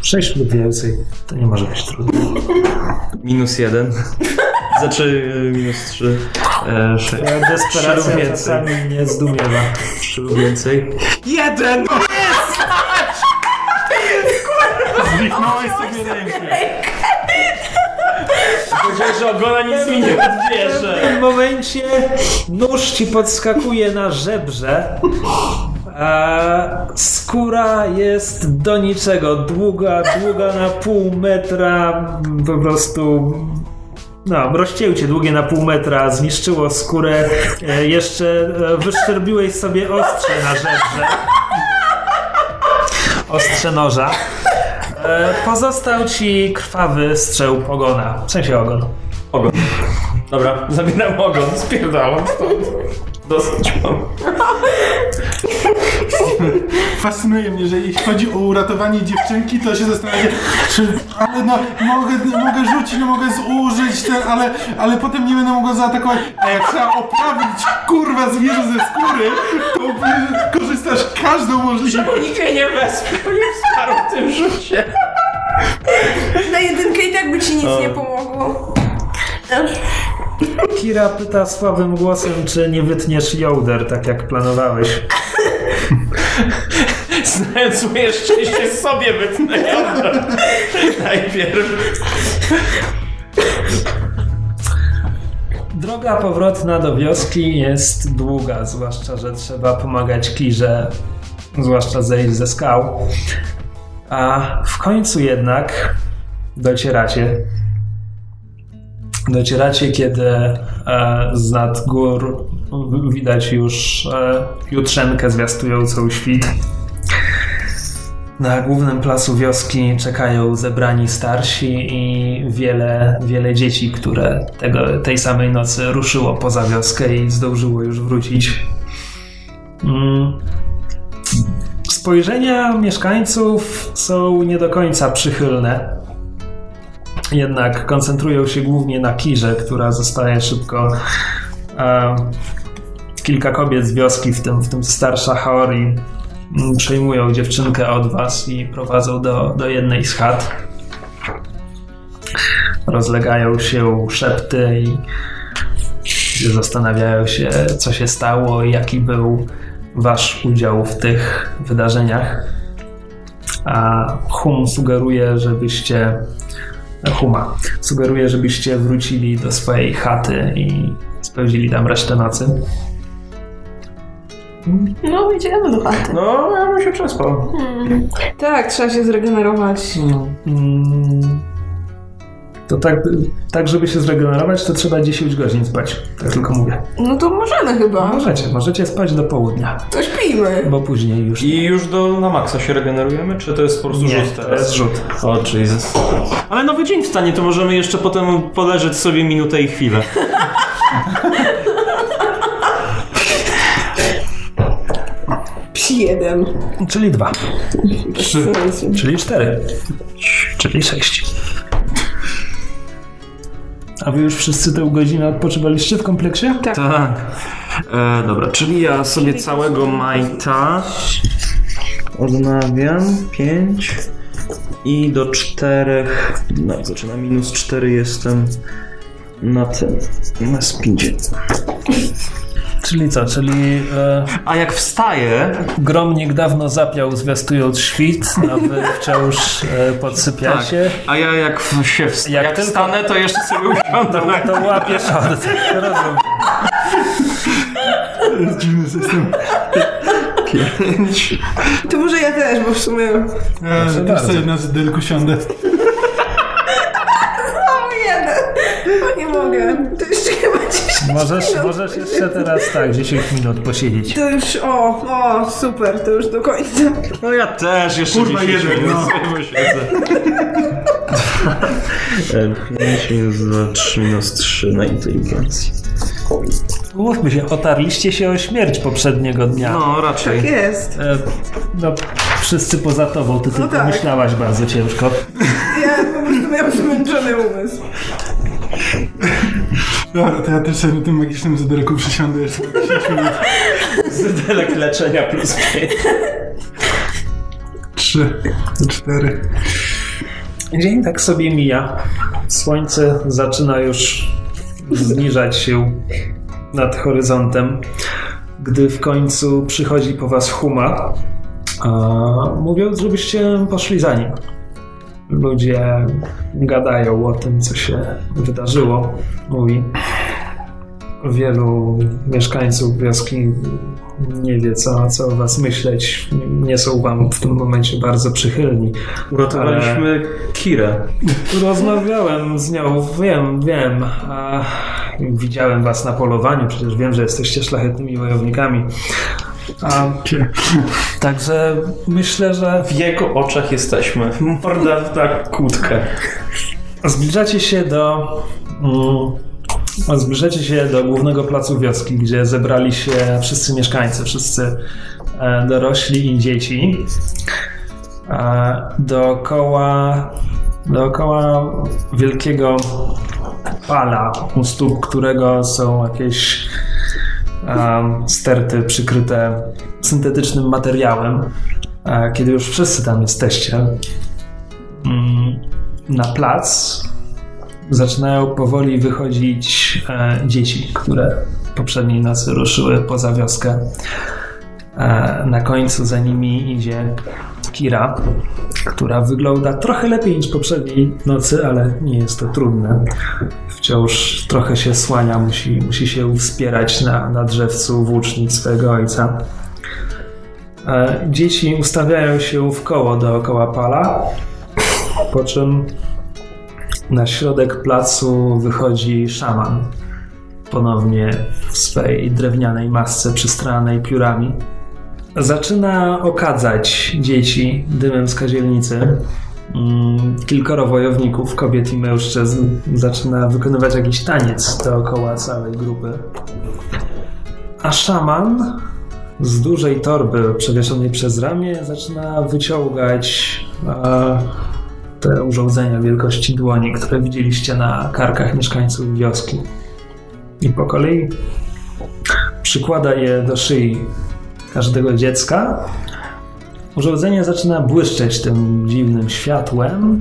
Speaker 1: Sześć lub więcej. To nie może być trudne.
Speaker 2: Minus jeden. Znaczy y, minus trzy. E, sześć.
Speaker 1: Twoja
Speaker 2: Trzy lub
Speaker 1: Desperacja
Speaker 2: więcej.
Speaker 1: czasami mnie zdumiewa.
Speaker 2: Trzy lub więcej. Jeden!
Speaker 5: Zwichnąłeś sobie rękę. Powiedziałeś, że ogona nic mi nie
Speaker 1: W
Speaker 5: odbierze.
Speaker 1: tym momencie nóż ci podskakuje na żebrze. A skóra jest do niczego. Długa, długa na pół metra. Po prostu. No, rozcięcie długie na pół metra zniszczyło skórę. E, jeszcze e, wyszczerbiłeś sobie ostrze na żebrze. Ostrze noża. E, pozostał ci krwawy strzał pogona. W sensie ogon.
Speaker 2: Dobra, zabieram ogon, spierdalam stąd. Dosyć mam.
Speaker 3: Fascynuje mnie, że jeśli chodzi o uratowanie dziewczynki, to się zastanawiam, czy, ale no, mogę, mogę rzucić, no mogę zużyć ten, ale, ale potem nie będę mogła zaatakować. A jak trzeba oprawić, kurwa, zwierzę ze skóry, to y, korzystasz każdą możliwość.
Speaker 2: Nikt mnie nie wesprze, nie wsparł w tym rzucie.
Speaker 8: Na jedynkę i tak by ci nic nie pomogło.
Speaker 1: Kira pyta słabym głosem, czy nie wytniesz jołder, tak jak planowałeś.
Speaker 2: Znając swoje szczęście sobie wytnę jądra. Najpierw.
Speaker 1: Droga powrotna do wioski jest długa, zwłaszcza, że trzeba pomagać Kirze, zwłaszcza zejść ze skał. A w końcu jednak docieracie. Docieracie, kiedy e, z nad gór w- widać już e, jutrzenkę zwiastującą świt. Na głównym placu wioski czekają zebrani starsi i wiele, wiele dzieci, które tego, tej samej nocy ruszyło poza wioskę i zdążyło już wrócić. Mm. Spojrzenia mieszkańców są nie do końca przychylne. Jednak koncentrują się głównie na Kirze, która zostaje szybko. e, kilka kobiet z wioski, w tym, w tym starsza Haori, Mm, przejmują dziewczynkę od was i prowadzą do, do jednej z chat. Rozlegają się szepty i zastanawiają się, co się stało i jaki był wasz udział w tych wydarzeniach. A Hum sugeruje, żebyście Huma sugeruje, żebyście wrócili do swojej chaty i spędzili tam resztę nocy.
Speaker 8: No, idziemy do chaty.
Speaker 2: No, ja bym się przespał.
Speaker 4: Tak, trzeba się zregenerować.
Speaker 2: No.
Speaker 1: Mm, To tak, tak, żeby się zregenerować, to trzeba 10 godzin spać. Tak tylko mówię.
Speaker 4: No to możemy chyba.
Speaker 1: Możecie, możecie spać do południa,
Speaker 4: To śpijmy.
Speaker 1: bo później już.
Speaker 2: I już do na maksa się regenerujemy, czy to jest po prostu
Speaker 1: nie,
Speaker 2: rzut
Speaker 1: to jest
Speaker 2: teraz?
Speaker 1: rzut.
Speaker 2: O, Jesus.
Speaker 5: Ale nowy dzień wstanie, to możemy jeszcze potem poleżeć sobie minutę i chwilę.
Speaker 4: Psi jeden.
Speaker 1: Czyli dwa,
Speaker 3: Trzy.
Speaker 1: czyli cztery, czyli sześć. A wy już wszyscy tę godzinę odpoczywaliście w kompleksie?
Speaker 5: Tak. E, dobra, czyli ja sobie całego majta.
Speaker 9: Odnawiam 5 i do 4. No, zaczyna minus 4 jestem na tym. Na spindzie.
Speaker 1: Czyli co? Czyli e,
Speaker 5: A jak wstaję,
Speaker 1: gromnik dawno zapiał zwiastując świt, a wy wciąż e, podsypiacie.
Speaker 5: a ja jak w- się wsta-
Speaker 1: Jak
Speaker 5: jak
Speaker 1: tylko-
Speaker 5: wstanę, to jeszcze sobie usiądę.
Speaker 2: Tak,
Speaker 5: na-
Speaker 1: To łapiesz od rozumiem.
Speaker 3: To jest dziwny system.
Speaker 4: To może ja też, bo w sumie...
Speaker 3: Ja też
Speaker 1: bardzo.
Speaker 3: sobie na delku siądę.
Speaker 4: O, jeden! O, nie mogę. To jeszcze chyba 10
Speaker 1: Możesz,
Speaker 4: minut.
Speaker 1: możesz jeszcze teraz tak, 10 minut posiedzieć.
Speaker 4: To już, o, o, super, to już do końca.
Speaker 5: No ja też jeszcze
Speaker 3: Kurwa,
Speaker 5: 10
Speaker 3: jeden,
Speaker 5: minut
Speaker 3: no.
Speaker 5: sobie posiedzę.
Speaker 9: 5 E, minus 2, 3 minus 3 na inteligencji.
Speaker 1: Mówmy się, otarliście się o śmierć poprzedniego dnia.
Speaker 5: No raczej.
Speaker 4: Tak jest.
Speaker 1: E, no wszyscy poza tobą, ty tylko
Speaker 4: tak.
Speaker 1: myślałaś bardzo ciężko.
Speaker 4: Ja po prostu miałam zmęczony umysł.
Speaker 3: Dobra, to ja też sobie na tym magicznym zadelku przysiądę jeszcze na 10 minut.
Speaker 9: Zelek leczenia plus 5.
Speaker 3: 3, 4.
Speaker 1: Dzień tak sobie mija. Słońce zaczyna już zniżać się nad horyzontem, gdy w końcu przychodzi po was Huma, a, mówiąc, żebyście poszli za nim. Ludzie gadają o tym, co się wydarzyło, mówi. Wielu mieszkańców wioski nie wie, co, co o was myśleć. Nie są wam w tym momencie bardzo przychylni.
Speaker 2: Uratowaliśmy Kirę.
Speaker 1: Rozmawiałem z nią, wiem, wiem. A widziałem was na polowaniu, przecież wiem, że jesteście szlachetnymi wojownikami. A, także myślę, że
Speaker 2: W jego oczach jesteśmy. Morda na kłódkę.
Speaker 1: zbliżacie się do. Mm, zbliżacie się do głównego placu wioski, gdzie zebrali się wszyscy mieszkańcy, wszyscy e, dorośli i dzieci. E, dookoła, dookoła wielkiego pala, u stóp którego są jakieś em, sterty przykryte syntetycznym materiałem. E, kiedy już wszyscy tam jesteście, mm, na plac zaczynają powoli wychodzić e, dzieci, które poprzedniej nocy ruszyły poza wioskę. E, na końcu za nimi idzie Kira, która wygląda trochę lepiej niż poprzedniej nocy, ale nie jest to trudne. Wciąż trochę się słania, musi, musi się wspierać na, na drzewcu włóczni swojego ojca. E, dzieci ustawiają się w koło dookoła pala, po czym na środek placu wychodzi szaman. Ponownie w swej drewnianej masce przystranej piórami. Zaczyna okadzać dzieci dymem z kazielnicy. Mm, Kilkoro wojowników, kobiet i mężczyzn, zaczyna wykonywać jakiś taniec dookoła całej grupy. A szaman z dużej torby przewieszonej przez ramię zaczyna wyciągać e, te urządzenia wielkości dłoni, które widzieliście na karkach mieszkańców wioski. I po kolei przykłada je do szyi każdego dziecka. Urządzenie zaczyna błyszczeć tym dziwnym światłem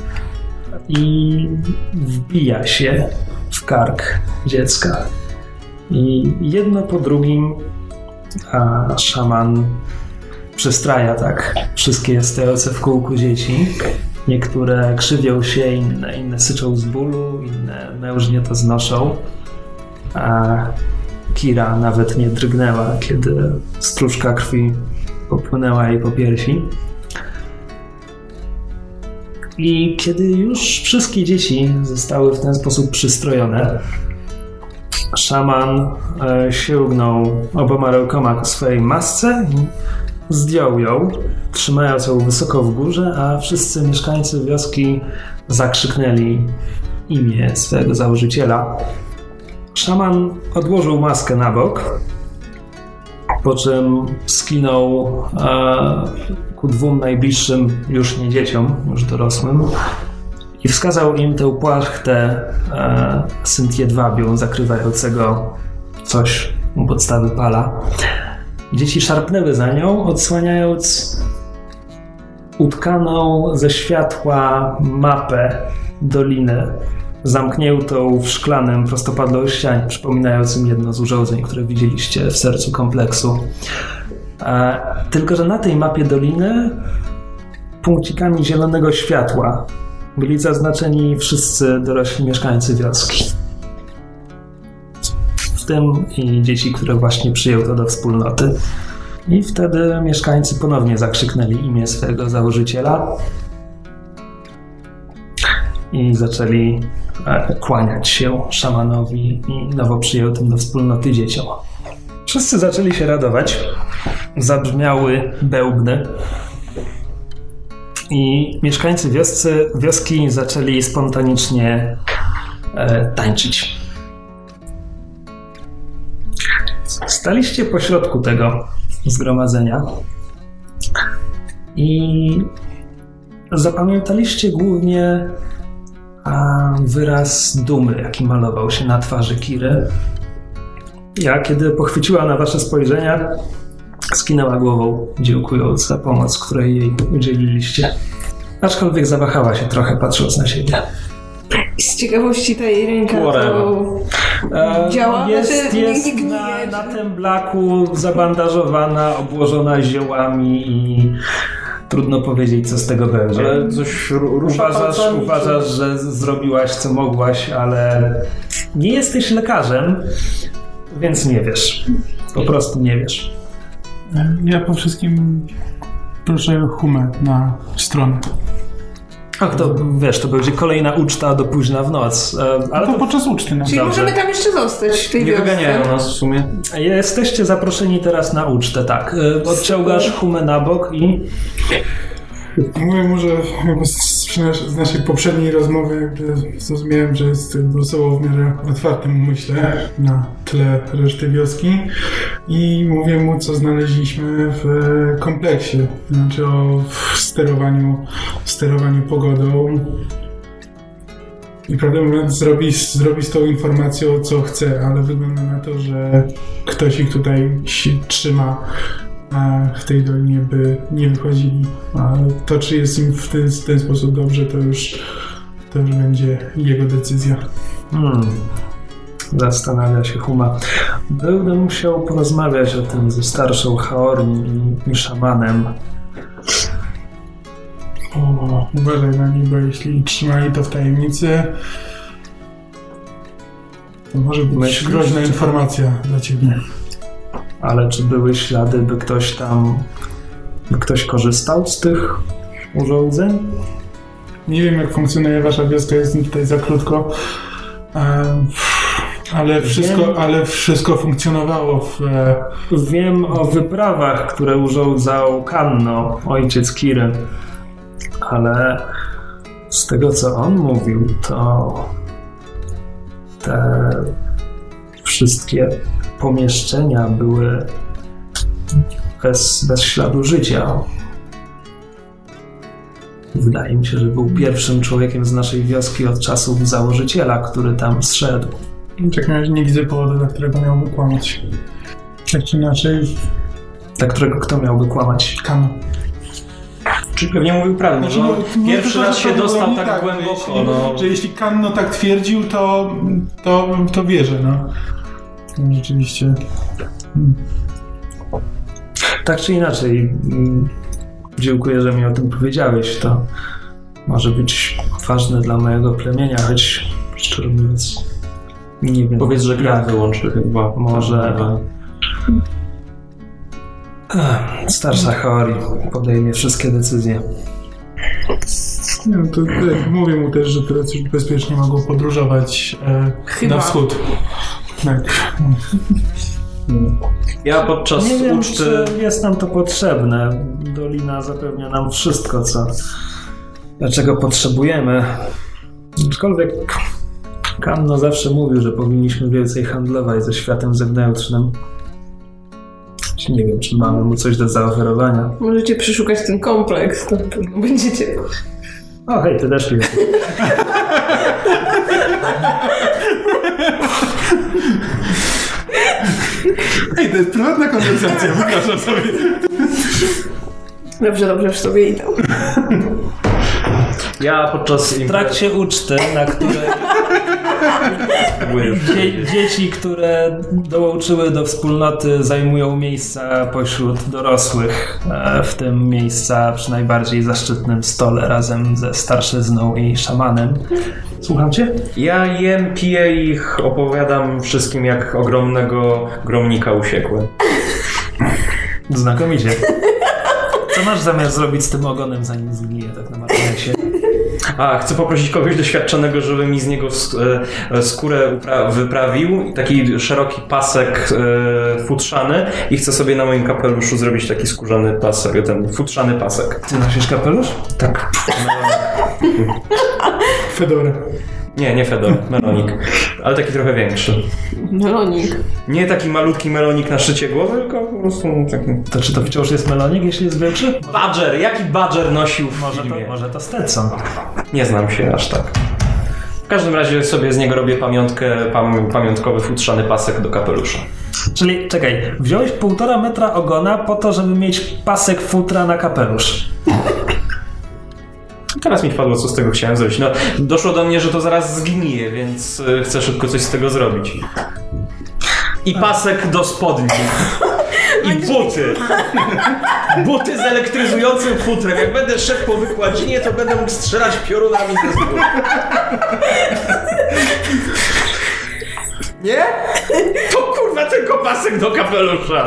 Speaker 1: i wbija się w kark dziecka. I jedno po drugim a szaman przystraja tak wszystkie stojące w kółku dzieci. Niektóre krzywią się, inne, inne syczą z bólu, inne mężnie to znoszą. A Kira nawet nie drgnęła, kiedy stróżka krwi popłynęła jej po piersi. I kiedy już wszystkie dzieci zostały w ten sposób przystrojone, szaman e, sięgnął oboma rękoma ku swojej masce i zdjął ją, trzymając ją wysoko w górze, a wszyscy mieszkańcy wioski zakrzyknęli imię swojego założyciela. Szaman odłożył maskę na bok, po czym skinął e, ku dwóm najbliższym już nie dzieciom, już dorosłym i wskazał im tę płachtę e, synt jedwabią zakrywającego coś u podstawy pala. Dzieci szarpnęły za nią, odsłaniając utkaną ze światła mapę doliny, zamkniętą w szklanym prostopadle ścian, przypominającym jedno z urządzeń, które widzieliście w sercu kompleksu. E, Tylko, że na tej mapie doliny punkcikami zielonego światła byli zaznaczeni wszyscy dorośli mieszkańcy wioski. W tym i dzieci, które właśnie przyjęto do wspólnoty. I wtedy mieszkańcy ponownie zakrzyknęli imię swojego założyciela i zaczęli e, kłaniać się szamanowi i nowo przyjętym do wspólnoty dzieciom. Wszyscy zaczęli się radować. Zabrzmiały bełbny. I mieszkańcy wioscy, wioski zaczęli spontanicznie e, tańczyć. Staliście pośrodku tego zgromadzenia i zapamiętaliście głównie a, wyraz dumy, jaki malował się na twarzy Kiry. Ja, kiedy pochwyciła na wasze spojrzenia, skinęła głową, dziękując za pomoc, której jej udzieliliście. Aczkolwiek zawahała się trochę, patrząc na siebie.
Speaker 4: Z ciekawości ta jej ręka to...
Speaker 1: E,
Speaker 4: Działa?
Speaker 1: Jest,
Speaker 4: Znaczy,
Speaker 1: jest
Speaker 4: nie- nie
Speaker 1: na,
Speaker 4: gnije,
Speaker 1: na
Speaker 4: że-
Speaker 1: tym blaku zabandażowana, obłożona ziołami i trudno powiedzieć, co z tego będzie.
Speaker 2: Ale coś ru- rusza
Speaker 1: Uważasz,
Speaker 2: palcami,
Speaker 1: uważasz, że z- zrobiłaś co mogłaś, ale nie jesteś lekarzem, więc nie wiesz. Po prostu nie wiesz.
Speaker 3: Ja po wszystkim proszę humę na stronę.
Speaker 1: Ach, to wiesz, to będzie kolejna uczta do późna w noc, e, ale
Speaker 3: Ale to
Speaker 1: to
Speaker 3: podczas uczty na
Speaker 4: Czyli
Speaker 1: Dobrze.
Speaker 4: możemy tam jeszcze zostać w tej
Speaker 2: Nie no. wyganiają
Speaker 4: wiosce.
Speaker 2: nas w sumie.
Speaker 1: jesteście zaproszeni teraz na ucztę, tak. E, Odciągasz humę na bok i
Speaker 3: Mówię mu, że jakby z, z nasz- z naszej poprzedniej rozmowy jakby zrozumiałem, że jest jakby osobą w miarę otwartym myślę na tle reszty wioski i mówię mu, co znaleźliśmy w e, kompleksie, znaczy o w sterowaniu, sterowaniu pogodą. I prawdę mówiąc, zrobi, z- zrobi z tą informacją, co chce, ale wygląda na to, że ktoś ich tutaj się trzyma a w tej dolinie by nie wychodzili. A to, czy jest im w ten, w ten sposób dobrze, to już, to już będzie jego decyzja.
Speaker 1: Hmm. Zastanawia się Huma. Będę musiał porozmawiać o tym ze starszą Haorn i szamanem.
Speaker 3: O, uważaj na nich, bo jeśli trzymali to w tajemnicy, to może być
Speaker 1: Myślisz,
Speaker 3: groźna
Speaker 1: czy-
Speaker 3: informacja dla ciebie.
Speaker 1: Ale czy były ślady, by ktoś tam... by ktoś korzystał z tych urządzeń?
Speaker 3: Nie wiem, jak funkcjonuje wasza wioska, jestem tutaj za krótko. Em, Ale wszystko, ale wszystko funkcjonowało w... e,
Speaker 1: Wiem o wyprawach, które urządzał Kanno, ojciec Kiry, ale z tego co on mówił, to te wszystkie pomieszczenia były bez, bez śladu życia. Wydaje mi się, że był pierwszym człowiekiem z naszej wioski od czasów założyciela, który tam zszedł.
Speaker 3: W takim razie nie widzę powodu, dla którego miałby kłamać. Tak czy inaczej,
Speaker 1: Dla którego kto miałby kłamać?
Speaker 3: kamo.
Speaker 2: Czyli pewnie mówił prawdę, że on
Speaker 3: Znaczy, nie,
Speaker 2: Znaczy, no, pierwszy
Speaker 3: No, to,
Speaker 2: raz
Speaker 3: że
Speaker 2: się
Speaker 3: to było
Speaker 2: dostał
Speaker 3: nie
Speaker 2: tak,
Speaker 3: że
Speaker 2: głęboko.
Speaker 3: jeśli,
Speaker 2: No.
Speaker 3: Że jeśli Kanno tak twierdził, to, to, to wierzę, no. Rzeczywiście.
Speaker 1: Tak czy inaczej, mm, dziękuję, że mi o tym powiedziałeś. To może być ważne dla mojego plemienia, choć szczerze mówiąc, nie wiem.
Speaker 2: Powiedz, że gra
Speaker 1: jak.
Speaker 2: wyłączy chyba.
Speaker 1: Może. Ech, Starsza Haori podejmie wszystkie decyzje.
Speaker 3: Nie, no to te, mówię mu też, że teraz już bezpiecznie mogą podróżować e,
Speaker 4: Chyba.
Speaker 3: na wschód. Tak.
Speaker 2: Ja podczas
Speaker 1: Nie wiem,
Speaker 2: uczty...
Speaker 1: czy jest nam to potrzebne. Dolina zapewnia nam wszystko, co dlaczego potrzebujemy. Aczkolwiek Kanno zawsze mówił, że powinniśmy więcej handlować ze światem zewnętrznym. Nie wiem, czy mamy mu coś do zaoferowania.
Speaker 4: Możecie przeszukać ten kompleks, to na pewno będziecie...
Speaker 1: O, hej, ty też jesteś.
Speaker 3: Ej, to jest prywatna konwersacja, wypraszam sobie.
Speaker 4: Dobrze, dobrze, w sobie idę.
Speaker 2: Ja podczas
Speaker 1: W trakcie uczty, na której
Speaker 2: imprezy...
Speaker 1: dzie- dzieci, które dołączyły do wspólnoty, zajmują miejsca pośród dorosłych, e, w tym miejsca przy najbardziej zaszczytnym stole razem ze starszyzną i szamanem. Słucham cię?
Speaker 2: Ja jem, piję i ch- opowiadam wszystkim, jak ogromnego gromnika usiekłem.
Speaker 1: Znakomicie. Co masz zamiar zrobić z tym ogonem, zanim zgnije tak na marginesie?
Speaker 2: A, chcę poprosić kogoś doświadczonego, żeby mi z niego s- e, e, skórę upra- wyprawił, taki szeroki pasek e, futrzany i chcę sobie na moim kapeluszu zrobić taki skórzany pasek, ten futrzany pasek.
Speaker 1: Ty nosisz kapelusz?
Speaker 2: Tak.
Speaker 3: Fedora.
Speaker 2: Nie, nie Fedor, melonik, ale taki trochę większy.
Speaker 4: Melonik.
Speaker 2: Nie taki malutki melonik na szycie głowy, tylko po prostu taki...
Speaker 1: To czy to wciąż jest melonik, jeśli jest większy?
Speaker 2: Badger! Jaki Badger nosił w
Speaker 1: Może
Speaker 2: filmie?
Speaker 1: to, może to Stetson.
Speaker 2: Nie znam się aż tak. W każdym razie sobie z niego robię pamiątkę, pam, pamiątkowy futrzany pasek do kapelusza.
Speaker 1: Czyli czekaj, wziąłeś półtora metra ogona po to, żeby mieć pasek futra na kapelusz.
Speaker 2: Teraz mi wpadło, co z tego chciałem zrobić. No, doszło do mnie, że to zaraz zgnije, więc y, chcę szybko coś z tego zrobić. I pasek do spodni. I buty. Buty z elektryzującym futrem. Jak będę szedł po wykładzinie, to będę mógł strzelać piorunami ze zbór. Nie? To kurwa tylko pasek do kapelusza.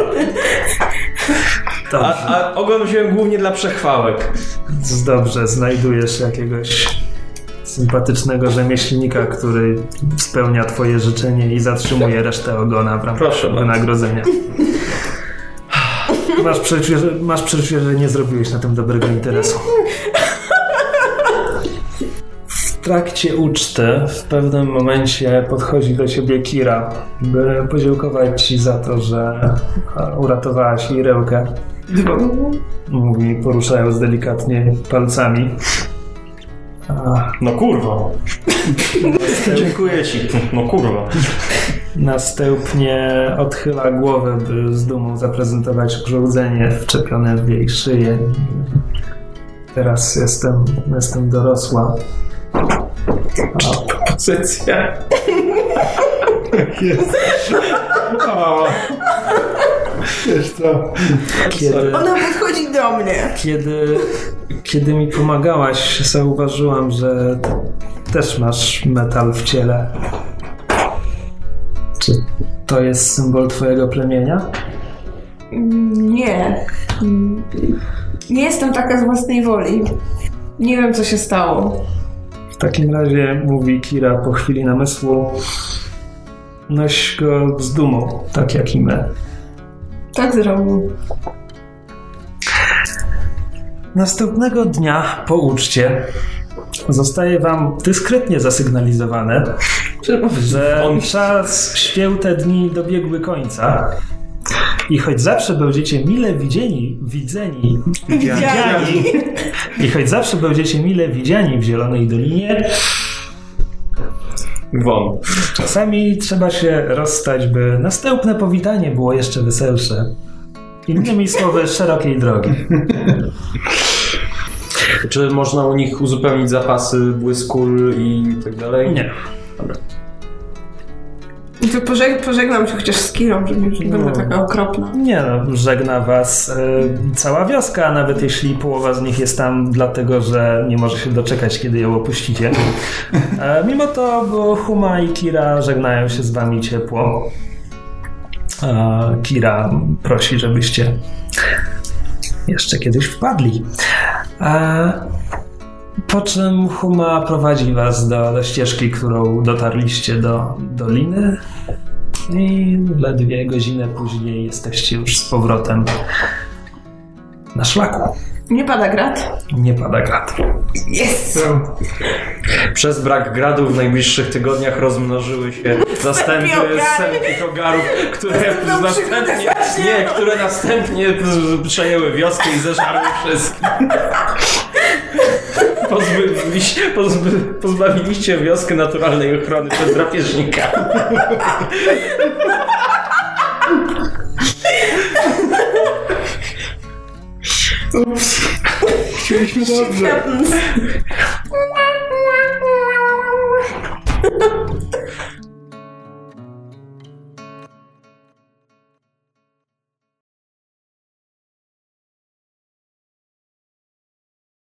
Speaker 2: A,
Speaker 1: Dobrze,
Speaker 2: a ogon wziąłem głównie dla przechwałek.
Speaker 1: więc dobrze, znajdujesz jakiegoś sympatycznego rzemieślnika, który spełnia twoje życzenie i zatrzymuje resztę ogona w ramach
Speaker 2: Proszę bardzo.
Speaker 1: wynagrodzenia. Masz przeczucie, że- masz przeczucie, że nie zrobiłeś na tym dobrego interesu. W trakcie uczty w pewnym momencie podchodzi do ciebie Kira, by podziękować ci za to, że e, uratowałaś jej rełkę. Mówi, poruszając delikatnie palcami. A
Speaker 2: No kurwa. Dziękuję ci. No kurwa.
Speaker 1: następnie odchyla głowę, by z dumą zaprezentować urządzenie wczepione w jej szyję. Teraz jestem, jestem dorosła.
Speaker 2: Pozycja.
Speaker 3: O. Wiesz co?
Speaker 1: Kiedy,
Speaker 8: Ona podchodzi do mnie.
Speaker 1: kiedy, kiedy mi pomagałaś, zauważyłam, że ty też masz metal w ciele. Czy to jest symbol twojego plemienia?
Speaker 4: Nie. Mm. Nie jestem taka z własnej woli. Nie wiem, co się stało.
Speaker 1: W takim razie, mówi Kira po chwili namysłu, noś go z dumą, tak jak i my.
Speaker 4: Tak zrobił.
Speaker 1: Następnego dnia po uczcie zostaje wam dyskretnie zasygnalizowane, że czas święte dni dobiegły końca. I choć zawsze będziecie mile widzieni, widzeni, widziani, i choć zawsze będziecie mile widziani w Zielonej Dolinie,
Speaker 2: Won.
Speaker 1: Czasami trzeba się rozstać, by następne powitanie było jeszcze weselsze. Innymi słowy, szerokiej drogi.
Speaker 2: Czy można u nich uzupełnić zapasy błyskul i tak dalej?
Speaker 1: Nie.
Speaker 4: I to pożeg- pożegnam się chociaż z Kirą, że już nie będę
Speaker 1: No.
Speaker 4: taka okropna.
Speaker 1: Nie, no, żegna was e, cała wioska, a nawet jeśli połowa z nich jest tam dlatego, że nie może się doczekać, kiedy ją opuścicie. E, mimo to bo Huma i Kira żegnają się z wami ciepło. E, Kira prosi, żebyście jeszcze kiedyś wpadli. E, po czym Huma prowadzi was do, do ścieżki, którą dotarliście do doliny. I ledwie godzinę później jesteście już z powrotem na szlaku.
Speaker 4: Nie pada grat?
Speaker 1: Nie pada grat.
Speaker 8: Jest!
Speaker 3: é um-
Speaker 2: Przez brak gradu w najbliższych tygodniach rozmnożyły się zastępy
Speaker 8: ogary.
Speaker 2: sępich ogarów, które
Speaker 8: Zastępną przygodę
Speaker 2: następnie, nie, które następnie przejęły wioskę i zeżarły wszystkich. Pozbyliście, pozby, pozbawiliście wioskę naturalnej ochrony przez drapieżnika.
Speaker 10: Chcieliśmy dobrze.
Speaker 3: é um- Happens.